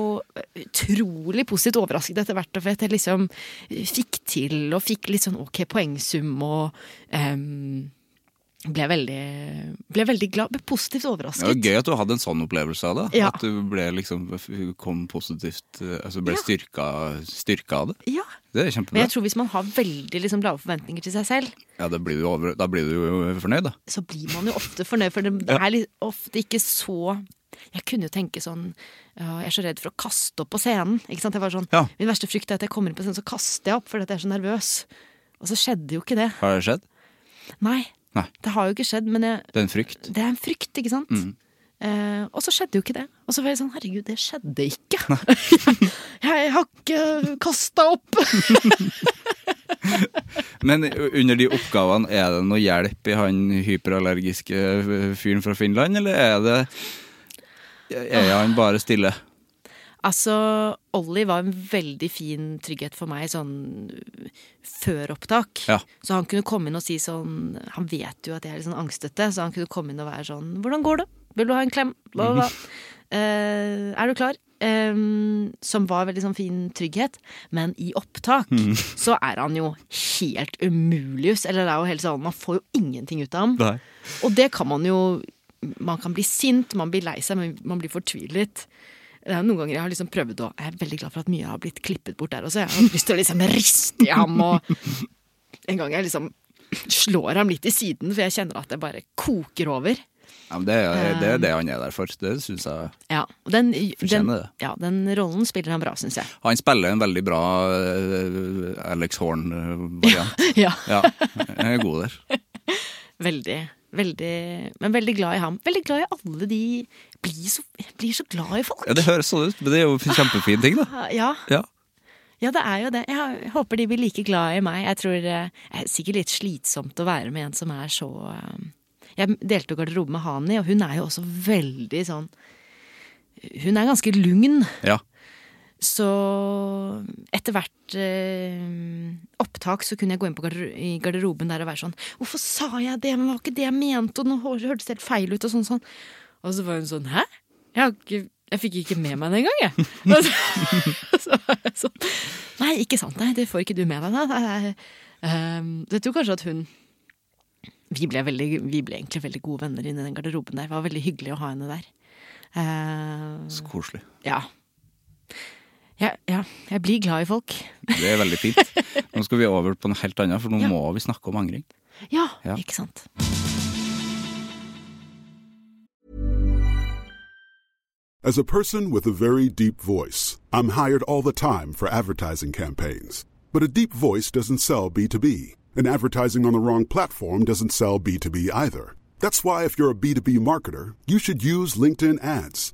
utrolig positivt overrasket etter hvert. For at jeg liksom fikk til og fikk litt sånn ok poengsum og em, ble, veldig, ble veldig glad. Ble positivt Det var overrasket. gøy at du hadde en sånn opplevelse av det. Ja. At du ble liksom, kom positivt eh, altså ble Ja. styrka, styrka av det. Ja. Det er kjempebra. Men jeg tror hvis man har veldig liksom lave forventninger til seg selv, Ja, da blir du, over, da blir du jo fornøyd, da. så blir man jo ofte fornøyd, for det det er litt, ofte ikke så Jeg kunne jo tenke sånn «Ja, Jeg er så redd for å kaste opp på scenen. Ikke sant? Jeg var sånn, Ja. Min verste frykt er at jeg kommer inn på scenen, så kaster jeg opp fordi at jeg er så nervøs. Og så skjedde jo ikke det. Har det skjedd? Nei. Nei. Det har jo ikke skjedd, men jeg, Det er en frykt. det er en frykt, ikke sant? Mm. Eh, og så skjedde jo ikke det. Og så var jeg sånn herregud, det skjedde ikke. jeg har ikke kasta opp. Men eh, under de oppgavene, er det noe hjelp i han hyperallergiske eh, fyren fra Finland, eller er det Er han bare stille? Altså, Ollie var en veldig fin trygghet for meg sånn øh, før opptak. Ja. Så han kunne komme inn og si sånn Han vet jo at jeg er litt sånn angstete, så han kunne komme inn og være sånn 'Hvordan går det? Vil du ha en klem?' Bla, bla, bla. Eh, er du klar? Ehm, som var veldig sånn fin trygghet. Men i opptak så er han jo helt umulius. Eller det er jo helt sånn Man får jo ingenting ut av ham. Nei. Og det kan man jo Man kan bli sint, man blir lei seg, men man blir fortvilet. Det er jo noen ganger jeg har liksom prøvd å Jeg er veldig glad for at mye har blitt klippet bort der også. Jeg har lyst til å liksom riste i ham, og en gang jeg liksom slår ham litt i siden, for jeg kjenner at det bare koker over. Ja, men det, er, Eh. det er det han er der for. Det syns jeg Ja, og den, den, Fortjener det. ja, den rollen spiller han bra, syns jeg. Han spiller en veldig bra eh, Alex Horn-variant. Ja, Ja, han er god der. veldig, veldig Men veldig glad i ham. Veldig glad i alle de Jeg blir så, jeg blir så glad i folk. Ja, Det høres sånn ut, men det er jo en kjempefin ting, da. Ja, Ja. Ja, det er jo det. Jeg håper de blir like glad i meg. Jeg tror eh, Det er sikkert litt slitsomt å være med en som er så eh, Jeg delte jo garderobe med Hani, og hun er jo også veldig sånn Hun er ganske lugn. Ja. Så etter hvert eh, opptak så kunne jeg gå inn på garder i garderoben der og være sånn 'Hvorfor sa jeg det? Men det var ikke det jeg mente.' Og nå hør- hørtes det helt feil ut. Og sånn sånn. Og så var hun sånn 'Hæ? Jeg, har ikke, jeg fikk ikke med meg det engang, jeg.' Og så, så var jeg sånn Nei, ikke sant. Nei, det får ikke du med deg. da. Nei, nei. Ehm, så jeg tror kanskje at hun vi ble, veldig, vi ble egentlig veldig gode venner inne i den garderoben der. Det var veldig hyggelig å ha henne der. Eh, Så koselig. ja. Ja, ja. Jeg blir glad i folk. Det er veldig fint. Nå skal vi over på noe helt annet, for nå Ja. må vi snakke om angring. Ja, Ja. ikke sant. As a person with a very deep voice, I'm hired all the time for advertising campaigns. But a deep voice doesn't sell B2B, and advertising on the wrong platform doesn't sell B2B either. That's why, if you're a B2B marketer, you should use LinkedIn ads.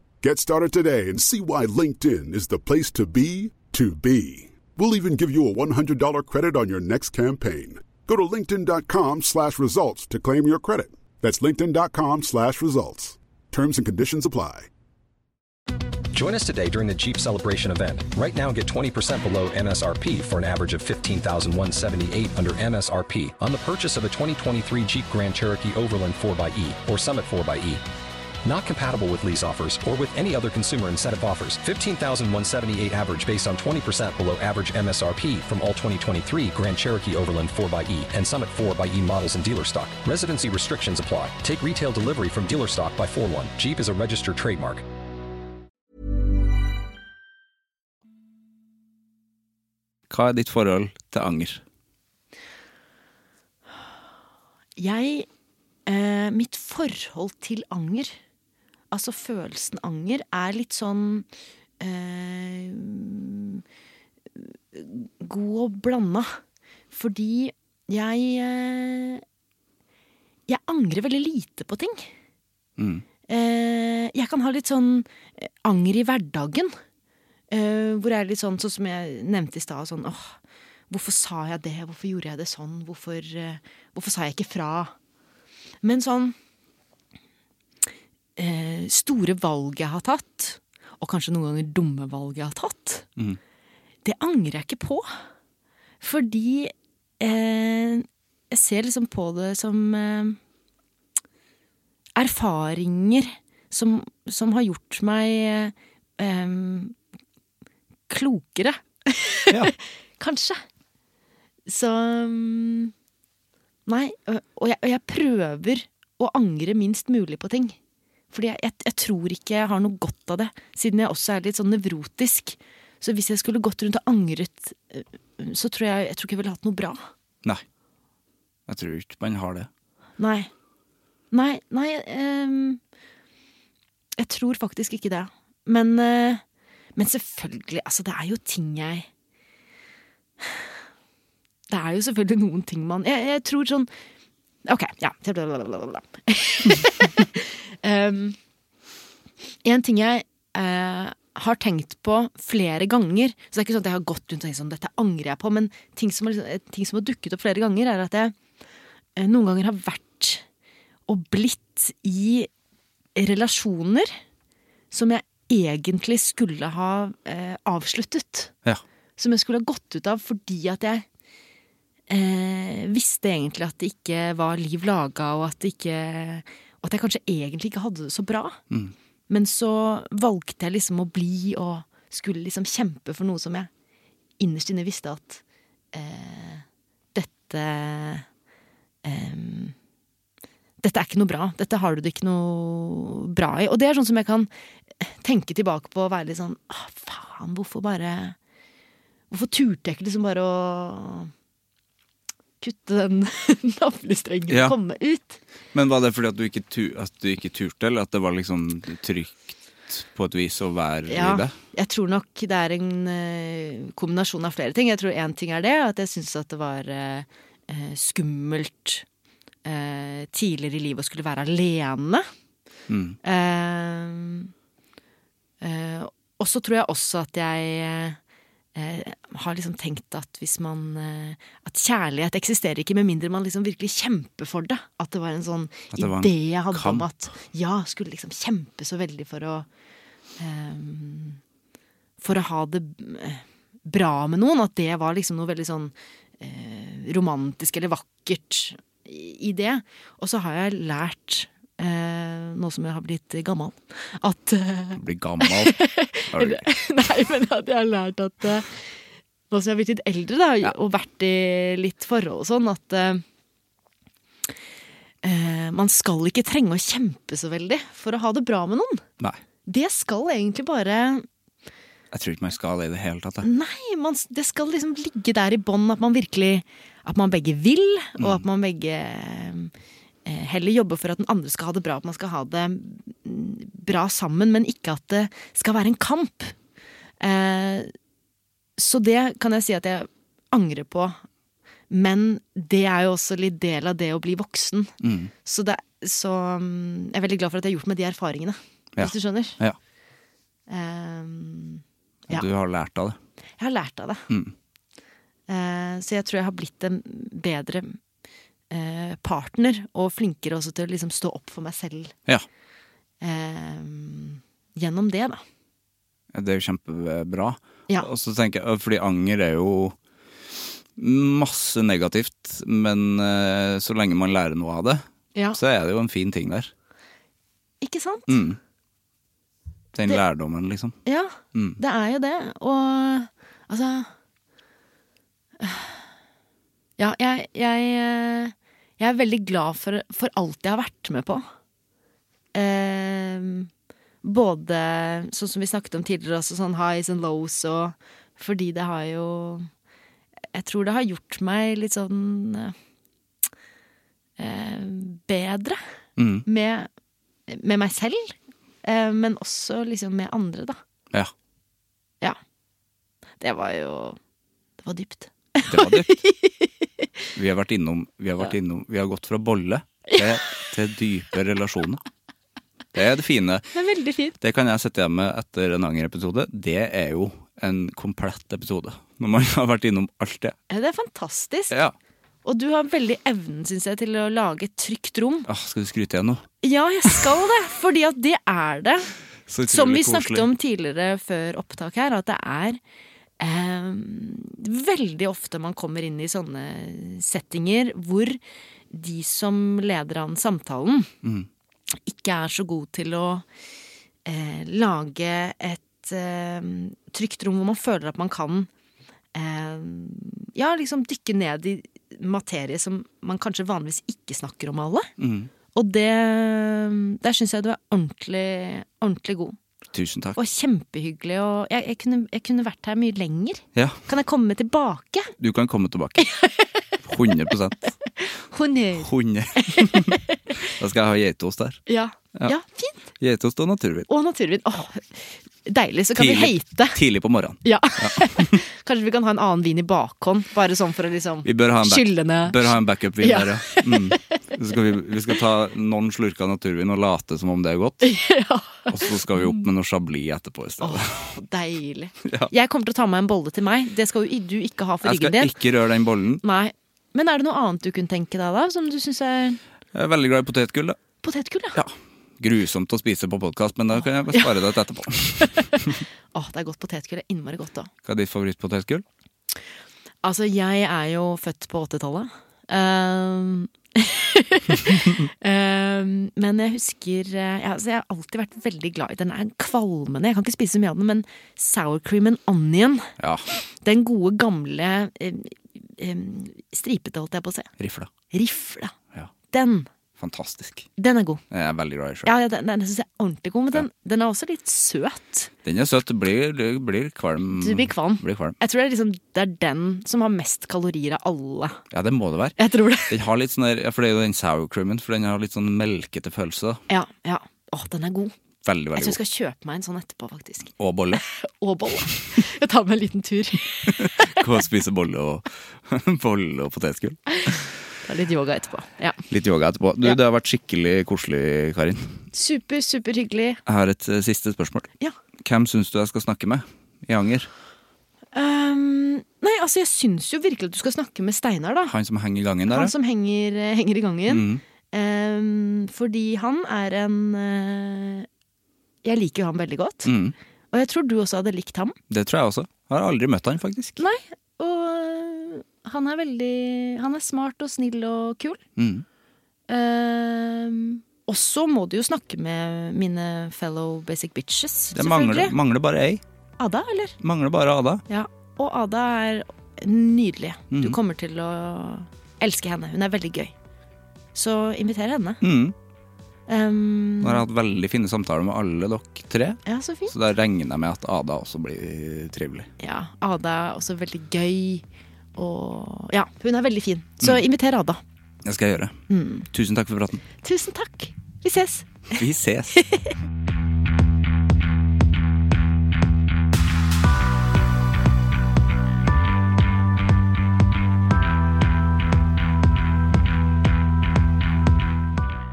Get started today and see why LinkedIn is the place to be to be. We'll even give you a $100 credit on your next campaign. Go to linkedin.com slash results to claim your credit. That's linkedin.com slash results. Terms and conditions apply. Join us today during the Jeep Celebration event. Right now, get 20% below MSRP for an average of 15178 under MSRP on the purchase of a 2023 Jeep Grand Cherokee Overland 4xE or Summit 4xE. Not compatible with lease offers or with any other consumer incentive offers. 15,178 average based on 20% below average MSRP from all 2023 Grand Cherokee Overland 4xE and Summit 4xE models in dealer stock. Residency restrictions apply. Take retail delivery from dealer stock by 4 1. Jeep is a registered trademark. Hva er ditt forhold til anger? Jeg eh, Mitt forhold til anger, altså følelsen anger, er litt sånn eh, God og blanda. Fordi jeg eh, Jeg angrer veldig lite på ting. Eh, jeg kan ha litt sånn eh, anger i hverdagen. Eh, hvor jeg er litt sånn, sånn som jeg nevnte i stad, sånn åh, hvorfor sa jeg det, hvorfor gjorde jeg det sånn, hvorfor, eh, hvorfor sa jeg ikke fra? Men sånn eh, store valg jeg har tatt, og kanskje noen ganger dumme valg jeg har tatt, det angrer jeg ikke på. Fordi eh, jeg ser liksom på det som eh, erfaringer som, som har gjort meg eh, em, klokere. Kanskje. Så mm, Nei, og og jeg, og jeg prøver å angre minst mulig på ting. Fordi jeg, jeg, jeg tror ikke jeg har noe godt av det, siden jeg også er litt sånn nevrotisk. Så hvis jeg skulle gått rundt og angret, eh, så tror jeg, jeg tror ikke jeg ville hatt noe bra. Nei. Jeg tror ikke man har det. Nei. Nei, nei ehm, Jeg tror faktisk ikke det. Men, eh, men selvfølgelig, altså det er jo ting jeg Det er jo selvfølgelig noen ting man Jeg, jeg tror sånn Ok, ja. Blablabla. Ehm, en ting jeg eh, har tenkt på flere ganger Så det er ikke sånn at jeg har gått rundt og tenkt sånn, dette angrer jeg på, men ting som, har liksom, ting som har dukket opp flere ganger, er at jeg eh, noen ganger har vært og blitt i relasjoner som jeg egentlig skulle ha eh, avsluttet. Ja. Som jeg skulle ha gått ut av fordi at jeg eh, visste egentlig at det ikke var liv laga, og at, det ikke, og at jeg kanskje egentlig ikke hadde det så bra. Men så valgte jeg liksom å bli og skulle liksom kjempe for noe som jeg innerst inne visste at eh, dette em, dette er ikke noe bra. Dette har du det ikke noe bra i. Og det er sånn som jeg kan tenke tilbake på og være litt sånn ah, faen, hvorfor bare Hvorfor turte jeg ikke liksom bare å kutte den navlestrengen Ja. og komme ut? Men var det fordi at du ikke, tu at du ikke turte, eller at det var liksom trygt på et vis å være Ja, i det? jeg tror nok det er en eh, kombinasjon av flere ting. Jeg tror én ting er det, at jeg syns at det var eh, eh, skummelt eh, tidligere i livet å skulle være alene. Eh, eh, og så tror jeg også at jeg eh, har liksom tenkt at hvis man eh, At kjærlighet eksisterer ikke med mindre man liksom virkelig kjemper for det. At det var en sånn At det var en idé jeg hadde om kamp. at ja, skulle liksom kjempe så veldig for å eh, for å ha det eh, bra med noen. At det var liksom noe veldig sånn eh, romantisk eller vakkert i i det. Og så har jeg lært, eh, nå som jeg har blitt gammel, at eh, Bli gammel. Har du- Nei, men at jeg har lært at eh, nå som jeg har blitt litt eldre da, og vært i litt forhold og sånn, at eh, eh, man skal ikke trenge å kjempe så veldig for å ha det bra med noen. Nei. Det skal egentlig bare Jeg tror ikke man skal det i det hele tatt. jeg. Nei, man, det skal liksom ligge der i bånd at man virkelig At man begge vil, og at man begge eh, heller jobber for at den andre skal ha det bra. At man skal ha det mm, bra sammen, men ikke at det skal være en kamp. Eh, så det kan jeg si at jeg angrer på. Men det er jo også litt del av det å bli voksen. Så, det, så mm, jeg er veldig glad for at jeg har gjort meg de erfaringene. Ja. Hvis du skjønner. Ja. Eh, Og Ja. Du har lært av det. jeg har lært av det. Eh, så jeg tror jeg har blitt en bedre eh, partner, og flinkere også til å liksom stå opp for meg selv Ja. eh, gjennom det, da. Det er jo kjempebra. Ja. Og så tenker jeg, fordi anger er jo masse negativt, men eh, så lenge man lærer noe av det, så er det jo en fin ting der. Ikke sant? Mm. Den Det- lærdommen, liksom. Ja, det er jo det. Og altså Ja, jeg, jeg, eh, jeg er veldig glad for, for alt jeg har vært med på. Ehm, både sånn som vi snakket om tidligere, også sånn highs and lows, og fordi det har jo Jeg tror det har gjort meg litt sånn eh, eh, bedre Mm. med, med meg selv, eh, men også liksom med andre, da. Ja. Ja. Det var jo Det var dypt. Det var dypt. Vi har vært innom Vi har, vært innom, vi har gått fra bolle til, til dype relasjoner. Det er det fine. Men veldig fint. Det kan jeg sette igjen med etter en Anger-episode. Det er jo en komplett episode. Når man har vært innom alt det. Ja, det er fantastisk. Ja. Og du har veldig evnen, syns jeg, til å lage et trygt rom. Ah, skal du skryte igjen nå? Ja, jeg skal det! Fordi at det er det. Så utrolig Som vi koselig. snakket om tidligere før opptak her, at det er eh, veldig ofte man kommer inn i sånne settinger hvor de som leder an samtalen, Mm. ikke er så god til å eh, lage et eh, trygt rom hvor man føler at man kan eh, ja, liksom dykke ned i materie som man kanskje vanligvis ikke snakker om alle. Mm. Og det Der syns jeg du er ordentlig, ordentlig god. Tusen takk. Og kjempehyggelig. Og jeg, jeg, kunne, jeg kunne vært her mye lenger. Ja, Kan jeg komme tilbake? du kan komme tilbake. 100 100 Honnør. Da skal jeg ha geitost der. Ja. Ja. ja, fint. Geitost og naturvin. Og naturvin. Åh, deilig. Så kan vi hate. tidlig på morgenen. Ja. Kanskje vi kan ha en annen vin i bakhånd, bare sånn for å liksom Vi bør ha en, back- skylle ned. bør ha en backup-vin Ja. der, ja. Mm. Så skal vi, vi skal ta noen slurker naturvin og late som om det er godt. Og så skal vi opp med noe chablis etterpå i stedet. Åh, deilig. Ja. Jeg kommer til å ta med en bolle til meg. Det skal jo i- du ikke ha for Jeg ryggen skal din. ikke røre den bollen. Nei. Men er det noe annet du kunne tenke deg, da? Som du syns er Jeg er veldig glad i potetgull, da. Potetgull, ja. Ja. Grusomt å spise på podkast, men da kan jeg bare spare det til etterpå. Åh, det er godt potetgull. Det er innmari godt, da. Hva er ditt favorittpotetgull? Altså, jeg er jo født på 80-tallet. Ehm, ehm, men jeg husker eh, jeg, altså, jeg har alltid vært veldig glad i Den er kvalmende. Jeg kan ikke spise så mye av den, men sour cream and onion. Ja, Den gode, gamle eh, em, stripete, holdt jeg på å si. rifla. Rifla. Ja. Den Fantastisk. Den er god. Jeg er veldig glad i sjøl. Ja, ja den, den syns jeg er ordentlig god, men den, den er også litt søt. Den er søt. Du blir, du blir kvalm. Du blir kvalm. Mm, Blir kvalm. Jeg tror det er, liksom, det er den som har mest kalorier av alle. Ja, det må det være. Jeg tror det. Den har litt sånn der, ja, for det er jo den sour creamen, for den har litt sånn melkete følelse. da. Ja, ja. Å, den er god. Veldig, veldig Jeg tror jeg god. skal kjøpe meg en sånn etterpå, faktisk. Og bolle. Og bolle. Jeg tar meg en liten tur. Det Gå og spise bolle og, bolle og potetgull. er litt yoga etterpå. Ja. Litt yoga etterpå. Du, Ja. Det har vært skikkelig koselig, Karin. Super, super hyggelig. Jeg har et eh, siste spørsmål. Ja. Hvem syns du jeg skal snakke med i Anger? Ehm, nei, altså, jeg syns jo virkelig at du skal snakke med Steinar, da. Han som henger i gangen der? Han Mm. ja? som henger, eh, henger i gangen. Ehm, fordi han er en eh, Jeg liker jo han veldig godt. Mm. Og jeg tror du også hadde likt ham. Det tror jeg også. Jeg har aldri møtt han, faktisk. Nei, og han er veldig Han er smart og snill og kul. Mm. Ehm, og så må du jo snakke med mine fellow basic bitches, Det mangler, selvfølgelig. mangler bare ei. Ada, eller? Mangler bare Ada. Ja. Og Ada er nydelig. Du Mm. kommer til å elske henne. Hun er veldig gøy. Så inviter henne. Mm. Ehm, Nå har jeg hatt veldig fine samtaler med alle dere tre, ja, så fint. så da regner jeg med at Ada også blir trivelig. Ja, Ada er også veldig gøy. Og ja, hun er veldig fin. Så Mm. inviter Ada. Det skal jeg gjøre. Tusen takk for praten. Tusen takk. Vi ses. Vi ses.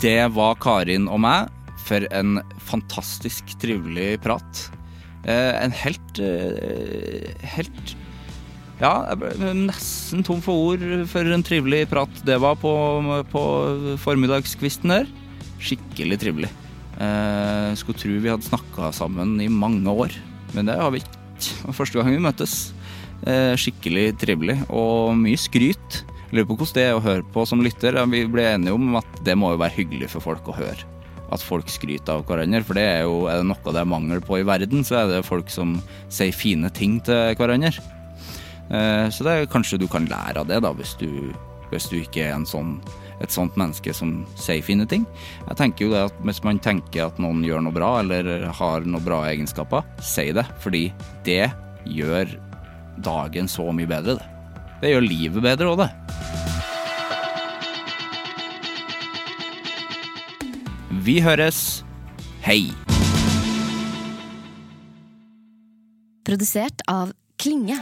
Det var Karin og meg for en fantastisk trivelig prat. Eh, en helt eh, Helt Ja, jeg ble nesten tom for ord for en trivelig prat det var på, på formiddagskvisten her. Skikkelig trivelig. Eh, skulle tro vi hadde snakka sammen i mange år, men det har vi ikke. Det var Første gang vi møttes. Eh, skikkelig trivelig og mye skryt. Jeg lurer på hvordan det er å høre på som lytter. Ja, Vi ble enige om at det må jo være hyggelig for folk å høre. At folk skryter av hverandre, for det er jo er det noe det er mangel på i verden, så er det folk som sier fine ting til hverandre. Eh, Så det er, kanskje du kan lære av det, da, hvis du, hvis du ikke er en sånn, et sånt menneske som sier fine ting. Jeg tenker jo det at Hvis man tenker at noen gjør noe bra, eller har noen bra egenskaper, si det. Fordi det gjør dagen så mye bedre, det. Det gjør livet bedre òg, det. Vi høres. Hei! Produsert av Klinge.